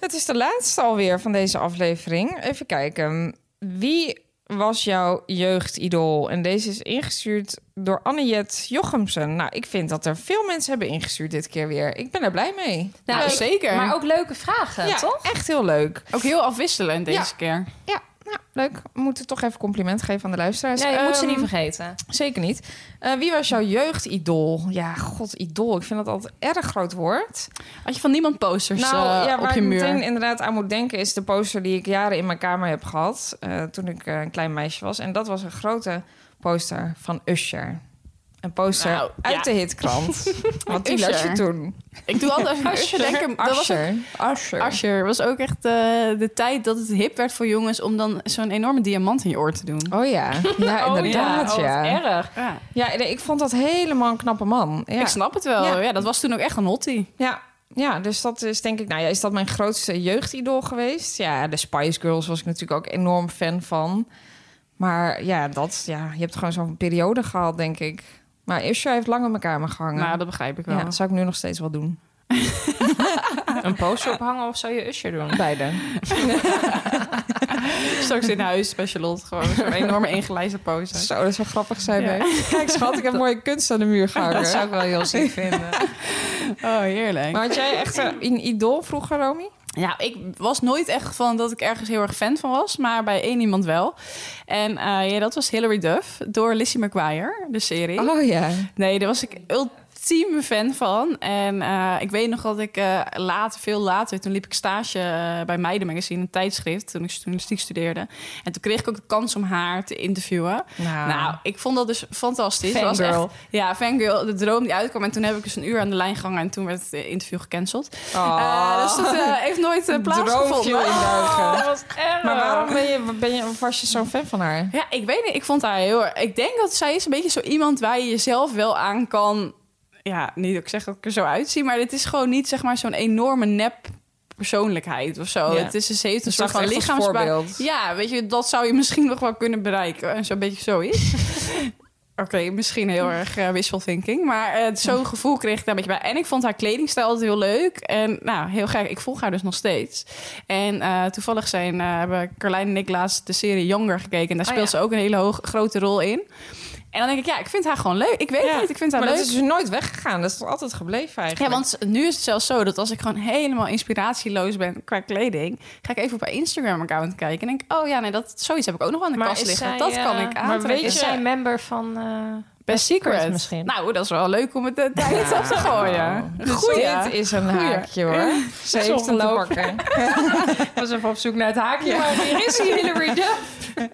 C: het is de laatste alweer van deze aflevering. Even kijken. Wie was jouw jeugdidool? En deze is ingestuurd door Anniet Jochemsen. Nou, ik vind dat er veel mensen hebben ingestuurd dit keer weer. Ik ben er blij mee.
B: Nou,
D: ik-
B: zeker.
D: Maar ook leuke vragen,
C: ja,
D: toch?
C: echt heel leuk.
B: Ook heel afwisselend deze
C: Ja.
B: keer.
C: Ja, nou, leuk. We moeten toch even compliment geven aan de luisteraars.
D: Nee, je moet ze
C: Ehm,
D: niet vergeten.
C: Zeker niet. Eh, wie was jouw jeugdidool? Ja, god, idool. Ik vind dat altijd een erg groot woord.
B: Had je van niemand posters eh,
C: Nou, ja,
B: op
C: waar
B: je
C: ik
B: muur?
C: meteen inderdaad aan moet denken... is de poster die ik jaren in mijn kamer heb gehad... eh, toen ik eh, een klein meisje was. En dat was een grote poster van Usher. Een poster
B: Nou,
C: uit
B: ja.
C: de hitkrant. Want die las je
B: Usher.
C: toen.
B: Ik doe altijd als je denken. Dat was ook,
C: Usher. Oh Usher.
B: Asher was ook echt eh, de tijd dat het hip werd voor jongens om dan zo'n enorme diamant in je oor te doen.
C: Oh ja, ja inderdaad,
D: Oh,
C: ja.
D: wat
C: Ja,
D: erg.
B: Ja.
C: nee, ik vond dat helemaal een knappe man. Ja.
B: Ik snap het wel.
C: Ja.
B: Ja. dat was toen ook echt een hottie.
C: Ja, ja, dus dat is denk ik... Nou ja, is dat mijn grootste jeugdidool geweest? Ja, de Spice Girls was ik natuurlijk ook enorm fan van. Maar ja, dat, ja je hebt gewoon zo'n periode gehad, denk ik. Maar Usher heeft lang aan mijn kamer gehangen.
B: Nou, dat begrijp ik wel.
C: ja, dat zou ik nu nog steeds wel doen.
D: Een poster ophangen of zou je Usher doen?
C: Beide.
B: Straks in huis bij Charlotte gewoon zo'n enorme ingelijste pose.
C: Zo, dat zou grappig zijn.
B: Ja.
C: hè? Kijk schat, ik heb mooie kunst aan de muur gehangen.
D: Dat zou ik wel heel ziek vinden.
B: Oh, heerlijk.
C: Maar had jij echt eh, een idool vroeger, Romy?
B: Ja, ik was nooit echt van dat ik ergens heel erg fan van was, maar bij één iemand wel. En eh, ja, dat was Hilary Duff door Lizzie McGuire, de serie.
C: Oh ja.
B: Nee, daar was ik ultieme fan van. En eh, ik weet nog dat ik eh, later, veel later, toen liep ik stage eh, bij Meidenmagazine, een tijdschrift, toen ik journalistiek studeerde. En toen kreeg ik ook de kans om haar te interviewen.
C: Nou.
B: Nou, ik vond dat dus fantastisch. Het
C: Fangirl.
B: Was echt, ja, fangirl, de droom die uitkwam. En toen heb ik dus een uur aan de lijn gehangen en toen werd het eh, interview gecanceld. Eh,
C: Oh.
B: dus dat eh, heeft nooit eh, plaatsgevonden.
C: Droomviel induigen.
D: was Oh, erg.
C: Maar waarom ben je, ben je, was je zo'n fan van haar?
B: Ja, Ah. ik weet niet. Ik vond haar heel erg... Ik denk dat zij is een beetje zo iemand waar je jezelf wel aan kan... Ja, niet dat ik zeg dat ik er zo uitzie, maar dit is gewoon niet zeg maar zo'n enorme nep persoonlijkheid of zo.
C: Ja.
B: Het is, ze heeft een
C: Je
B: soort
C: zag
B: van
C: het echt als
B: lichaamsbouw.
C: voorbeeld.
B: Ja, weet je, dat zou je misschien nog wel kunnen bereiken. En Zo'n beetje zoiets. Oké, misschien heel erg eh, wishful thinking. Maar eh, zo'n gevoel kreeg ik daar een beetje bij. En ik vond haar kledingstijl altijd heel leuk. En nou, heel gek. Ik volg haar dus nog steeds. En eh, toevallig zijn, eh, hebben Carlijn en ik laatst de serie Younger gekeken. En daar
D: Oh,
B: speelt
D: ja.
B: ze ook een hele hoog, grote rol in. En dan denk ik, ja, ik vind haar gewoon leuk. Ik weet
C: Ja,
B: niet, ik vind haar
C: maar
B: leuk.
C: dat is dus nooit weggegaan. Dat is toch altijd gebleven
B: Ja,
C: eigenlijk?
B: want nu is het zelfs zo dat als ik gewoon helemaal inspiratieloos ben qua kleding, ga ik even op haar Instagram-account kijken en denk, oh ja, nee, dat zoiets heb ik ook nog aan de
D: Maar
B: kast
D: is
B: liggen.
D: zij,
B: dat
D: eh,
B: kan ik
D: maar
B: aantrekken.
C: weet
D: Is
C: je-
D: zij member van... eh,
B: Best Secret.
D: Secret misschien.
B: Nou, dat is wel leuk om het eh, tijdens op te gooien. eh,
C: Dus
B: Goeie.
C: dit is een haakje hoor. Ze heeft hem te
D: Zonloop.
C: pakken.
D: Ik was even op zoek naar het haakje, maar hier is hij, Hillary Duff.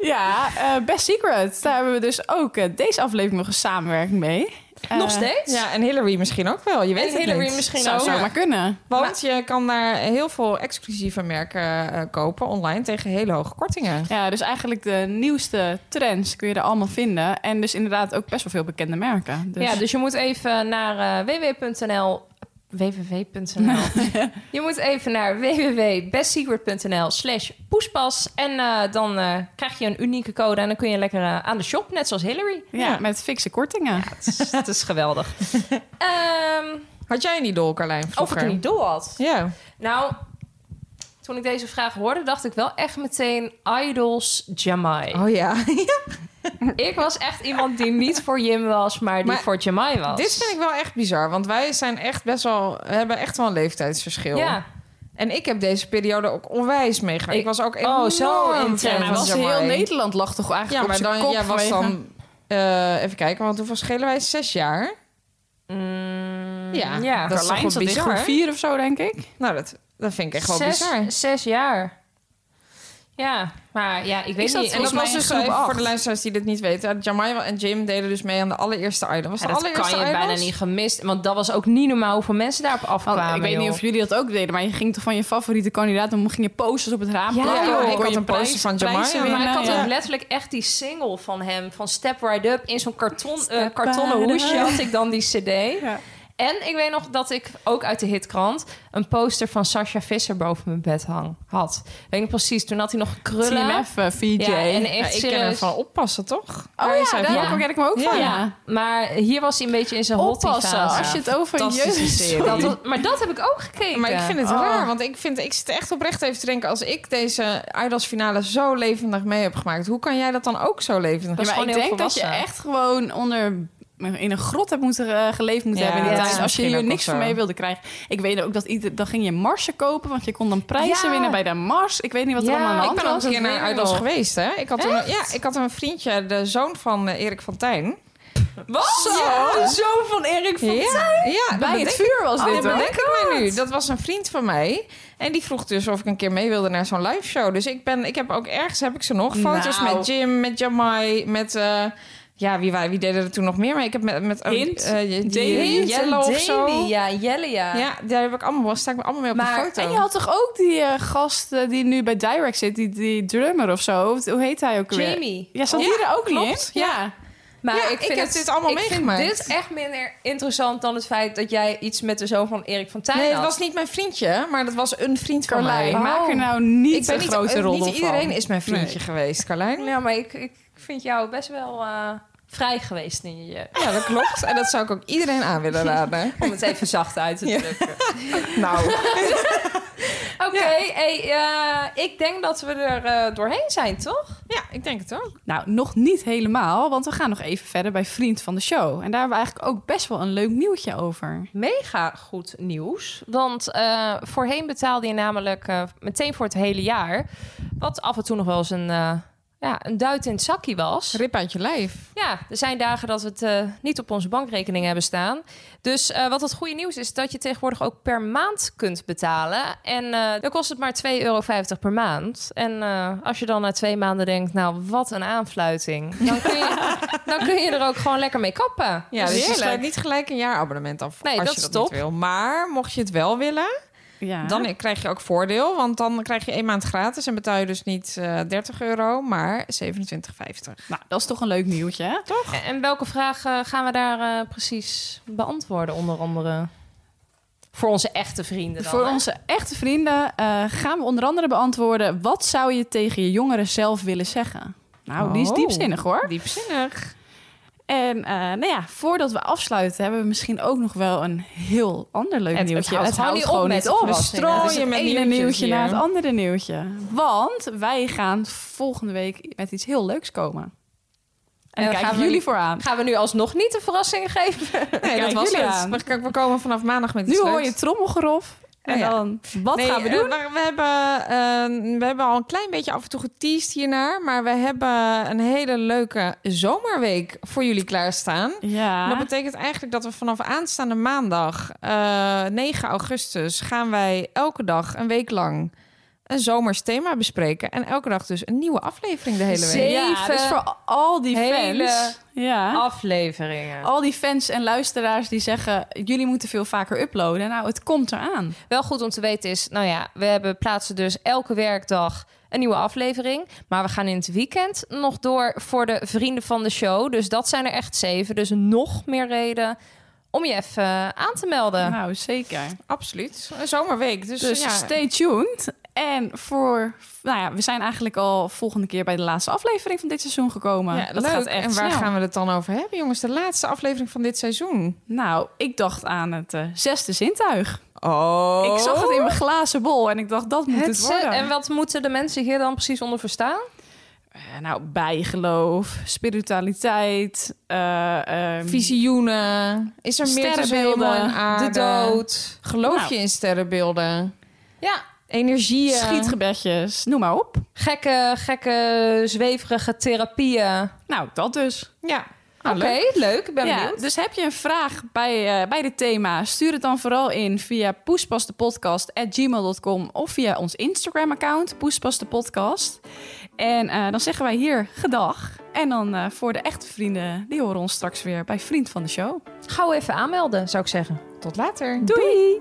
B: Ja, eh, Best Secret. Daar hebben we dus ook eh, deze aflevering nog een samenwerking mee.
D: Nog steeds?
C: Ja, en Hillary misschien ook wel. Je weet het
D: Hillary
C: niet.
D: misschien
B: Zou
D: ook.
B: zomaar
D: Ja.
B: kunnen.
C: Want je kan daar heel veel exclusieve merken eh, kopen online tegen hele hoge kortingen.
B: Ja, dus eigenlijk de nieuwste trends kun je er allemaal vinden. En dus inderdaad ook best wel veel bekende merken. Dus,
D: Ja, dus je moet even naar eh, www.nl www.nl Je moet even naar www.bestsecret.nl slash poespas en eh, dan eh, krijg je een unieke code en dan kun je lekker eh, aan de shop, net zoals Hillary.
B: ja, met fikse kortingen.
D: Het is, het is geweldig. Ehm,
C: Had jij een idool, Carlijn,
D: of
C: vroeger?
D: ik een idool had?
C: Ja.
D: Nou, toen ik deze vraag hoorde, dacht ik wel echt meteen Idols Jamai.
C: Oh ja.
D: Ik was echt iemand die niet voor Jim was, maar die
C: Maar
D: voor Jamai was.
C: Dit vind ik wel echt bizar, want wij zijn echt best wel, we hebben echt wel een leeftijdsverschil.
D: Ja,
C: En ik heb deze periode ook onwijs meegemaakt. Ik,
D: Ik-
C: was ook enorm
D: Oh, zo intens.
C: fan
D: Ja,
B: maar
D: maar
C: van
B: was
C: Jamai.
B: heel Nederland lag toch
C: Ja,
B: eigenlijk
C: maar dan, jij was dan... eh, even kijken, want hoeveel schelen wij? Zes jaar? ja,
D: Mm, ja,
C: dat is toch
B: Carlijn
C: wel
B: zat in
C: bizar?
B: groep 4 of zo, denk ik.
C: Nou, dat, dat vind ik echt wel
D: zes,
C: bizar.
D: zes jaar. Ja, maar ja, ik weet
B: Is dat
D: niet.
B: zo?
C: En dat
B: Volgens
C: was
B: mij in
C: dus
B: groep
C: even
B: acht.
C: voor de luisteraars die dit niet weten. Jamai en Jim deden dus mee aan de allereerste idol. Was
D: Ja,
C: de
D: dat
C: allereerste Oh,
D: kan je
C: idol?
D: bijna niet gemist. Want dat was ook niet normaal hoeveel mensen daarop
B: Want
D: afkwamen.
B: ik weet niet
D: joh.
B: of jullie dat ook deden, maar je ging toch van je favoriete kandidaat... en ging je posters op het raam
D: Ja,
B: plakken.
D: joh,
B: Dan
D: ik
B: kon
C: had
B: je
C: een poster
B: prijs-
C: van Jamai,
B: prijzen
C: maar
D: Maar
B: winnen.
D: ik had
B: Ja.
D: ook letterlijk echt die single van hem, van Step Right Up. In zo'n karton, eh,
B: Step
D: kartonnen
B: right
D: hoesje
B: up.
D: had ik dan die cd.
B: Ja.
D: En ik weet nog dat ik ook uit de hitkrant een poster van Sasha Visser boven mijn bed hang, had. Weet ik precies, toen had hij nog krullen.
B: Team F, eh, VJ.
D: Ja, en echt
C: Ja, ik ken hem
D: serieus.
C: van oppassen, toch?
B: Oh
C: Daar is
B: ja,
C: hij
B: daar
C: van.
B: ken ik hem ook
C: Ja.
B: van.
D: Ja, maar hier was hij een beetje in zijn hottie
B: Oppassen
D: fase.
B: als je het over een
C: Fantastische
B: jeugd...
C: serie.
D: Dat was- maar dat heb ik ook gekeken.
C: Maar ik vind het
B: Oh.
C: raar, want ik, vind, ik zit echt oprecht even te denken... als ik deze Idols-finale zo levendig mee heb gemaakt... hoe kan jij dat dan ook zo levendig
B: Ja,
D: is
B: maar
D: gewoon
B: ik
D: heel
B: denk dat je
D: volwassen.
B: echt gewoon onder in een grot hebt moeten eh, geleefd moeten
C: Ja,
B: hebben in die tijd.
C: dat is
B: Als je
C: misschien
B: hier
C: ook
B: niks
C: wel
B: van
C: zo.
B: mee wilde krijgen. Ik weet ook dat ieder, dan ging je marsen kopen, want je kon dan prijzen
D: Ja.
B: winnen bij de mars. Ik weet niet wat er
D: Ja,
B: allemaal aan de
D: ik
B: hand
C: Ik ben ook
B: was.
C: een keer
D: dat
C: naar
D: weet ik
C: Idols
D: nog.
C: geweest, hè? Ik had, een, ja, ik had een vriendje, de zoon van eh, Erik van Tijn.
D: Wat? Zo, zo van Erik van...
C: ja, ja,
B: Bij het vuur was
C: Oh,
B: dit
C: dat
B: hoor.
C: bedenk ik mij nu. Dat was een vriend van mij. En die vroeg dus of ik een keer mee wilde naar zo'n live show. Dus ik, ben, ik heb ook ergens heb ik ze nog. Foto's
B: Nou.
C: met Jim, met Jamai, met... eh, ja, wie, waren- wie deden er toen nog meer? Maar ik heb met... met eh,
B: Hint,
C: eh, die-
B: Daily,
C: Jelle of zo. Ja.
D: Ja, Jelle, ja.
C: daar heb ik allemaal, wel- sta ik allemaal mee op
D: Maar-
C: de foto.
B: En je had toch ook die eh, gast eh, die nu bij Direct zit, die, die drummer of zo? Wat- Hoe heet hij ook weer?
D: Jamie.
B: Ja, zat
C: Ja,
B: die er ook niet
C: klopt.
B: in? Ja.
D: Maar
C: Ja, ik heb dit allemaal
D: ik
C: meegemaakt.
D: vind dit echt minder interessant dan het feit dat jij iets met de zoon van Erik van Tijn
C: nee, het
D: had.
C: was niet mijn vriendje, maar dat was een vriend van
B: Carlijn,
C: mij. Oh.
B: maak er nou niet
C: ben
B: een grote
C: eh,
B: rol
C: Niet iedereen is mijn vriendje geweest, Carlijn.
D: Ja, maar ik, ik vind jou best wel eh, vrij geweest in je...
C: Ja, dat klopt. En dat zou ik ook iedereen aan willen raden.
D: Om het even zacht uit te
C: Ja.
D: drukken.
C: Nou,
D: Oké, hey, eh, ik denk dat we er eh, doorheen zijn, toch?
C: ja, ik denk het ook.
B: Nou, nog niet helemaal, want we gaan nog even verder bij Vriend van de Show. En daar hebben we eigenlijk ook best wel een leuk nieuwtje over.
D: Mega goed nieuws. Want eh, voorheen betaalde je namelijk eh, meteen voor het hele jaar... wat af en toe nog wel eens een, eh, ja, een duit in het zakje was.
C: Rip uit je lijf.
D: Ja, er zijn dagen dat we het eh, niet op onze bankrekening hebben staan. Dus eh, wat het goede nieuws is, dat je tegenwoordig ook per maand kunt betalen. En eh, dan kost het maar 2,50 euro per maand. En eh, als je dan na twee maanden denkt, nou wat een aanfluiting. Dan kun je, dan kun je er ook gewoon lekker mee kappen.
C: Ja,
D: Dat is
C: dus je
D: heerlijk.
C: sluit niet gelijk een jaarabonnement af
D: Nee,
C: als
D: dat
C: je
D: is
C: dat
D: top.
C: niet wil. Maar mocht je het wel willen,
B: Ja.
C: dan krijg je ook voordeel. Want dan krijg je één maand gratis en betaal je dus niet eh 30 euro, maar 27,50.
B: Nou, dat is toch een leuk nieuwtje, hè?
D: En- En welke vragen gaan we daar eh, precies beantwoorden onder andere? Voor onze echte vrienden dan.
B: Voor
D: hè?
B: onze echte vrienden eh, gaan we onder andere beantwoorden... wat zou je tegen je jongeren zelf willen zeggen? Nou, die is
C: Oh.
B: diepzinnig, hoor.
C: Diepzinnig.
B: En eh, nou ja, voordat we afsluiten... hebben we misschien ook nog wel een heel ander leuk
D: Het- het
B: nieuwtje.
D: houdt gewoon niet op met
B: op.
D: verrassingen.
C: We
B: Het
D: Oh,
B: is
C: strooien
B: het
C: met
B: ene
C: nieuwtjes
B: nieuwtje
C: hier.
B: naar het andere nieuwtje. Want wij gaan volgende week met iets heel leuks komen. En,
D: En
B: daar
D: dan
B: kijken
D: gaan we-
B: jullie voor aan.
D: Gaan we nu alsnog niet de verrassing geven?
C: Nee, dat
B: Kijk
C: was
B: jullie
C: het.
B: aan.
C: We, k- we komen vanaf maandag met iets
B: Nu hoor
C: leuks.
B: je trommelgerof. En
C: Nou ja.
B: dan, wat
C: Nee,
B: gaan we
C: eh,
B: doen?
C: We, we hebben, eh, we hebben al een klein beetje af en toe geteased hiernaar. Maar we hebben een hele leuke zomerweek voor jullie klaarstaan.
B: Ja.
C: Dat betekent eigenlijk dat we vanaf aanstaande maandag, eh, 9 augustus, gaan wij elke dag een week lang een zomers thema bespreken. En elke dag dus een nieuwe aflevering de hele week.
B: Ja, dus voor al die
D: hele
B: fans. Ja.
D: Afleveringen.
B: Al die fans en luisteraars die zeggen... jullie moeten veel vaker uploaden. Nou, het komt eraan.
D: Wel goed om te weten is, nou ja, we hebben plaatsen dus elke werkdag een nieuwe aflevering. Maar we gaan in het weekend nog door voor de vrienden van de show. Dus dat zijn er echt zeven. Dus nog meer reden om je even aan te melden.
B: Nou, zeker.
C: Absoluut. Een zomerweek. Dus,
B: Dus
C: ja.
B: stay tuned. En voor... Nou ja, we zijn eigenlijk al volgende keer bij de laatste aflevering van dit seizoen gekomen.
C: Ja,
B: dat
C: leuk.
B: gaat echt
C: en waar
B: snel.
C: gaan we het dan over hebben, jongens? De laatste aflevering van dit seizoen.
B: Nou, ik dacht aan het eh, zesde zintuig.
C: Oh.
B: Ik zag het in mijn glazen bol en ik dacht, dat moet het,
D: Het eh, ze-
B: worden.
D: en wat moeten de mensen hier dan precies onder verstaan?
B: Eh, nou, bijgeloof, spiritualiteit, eh, ehm,
C: Visioenen. Is er meer tussen hemel
B: Sterrenbeelden.
C: en aarde?
D: De dood.
C: Geloof
B: Nou.
C: je in sterrenbeelden? eh,
D: Ja,
C: Energieën?
B: schietgebedjes, noem maar op.
D: gekke, gekke, zweverige therapieën.
B: Nou, dat dus.
C: Ja.
D: Oké, Ah, leuk. Ik ben
B: Ja,
D: benieuwd.
B: dus heb je een vraag bij, eh, bij dit thema, stuur het dan vooral in via poespastepodcast.gmail.com of via ons Instagram-account, poespastepodcast. En eh, dan zeggen wij hier gedag. En dan eh, voor de echte vrienden, die horen ons straks weer bij Vriend van de Show.
D: Gauw even aanmelden, zou ik zeggen.
C: Tot later.
B: Doei.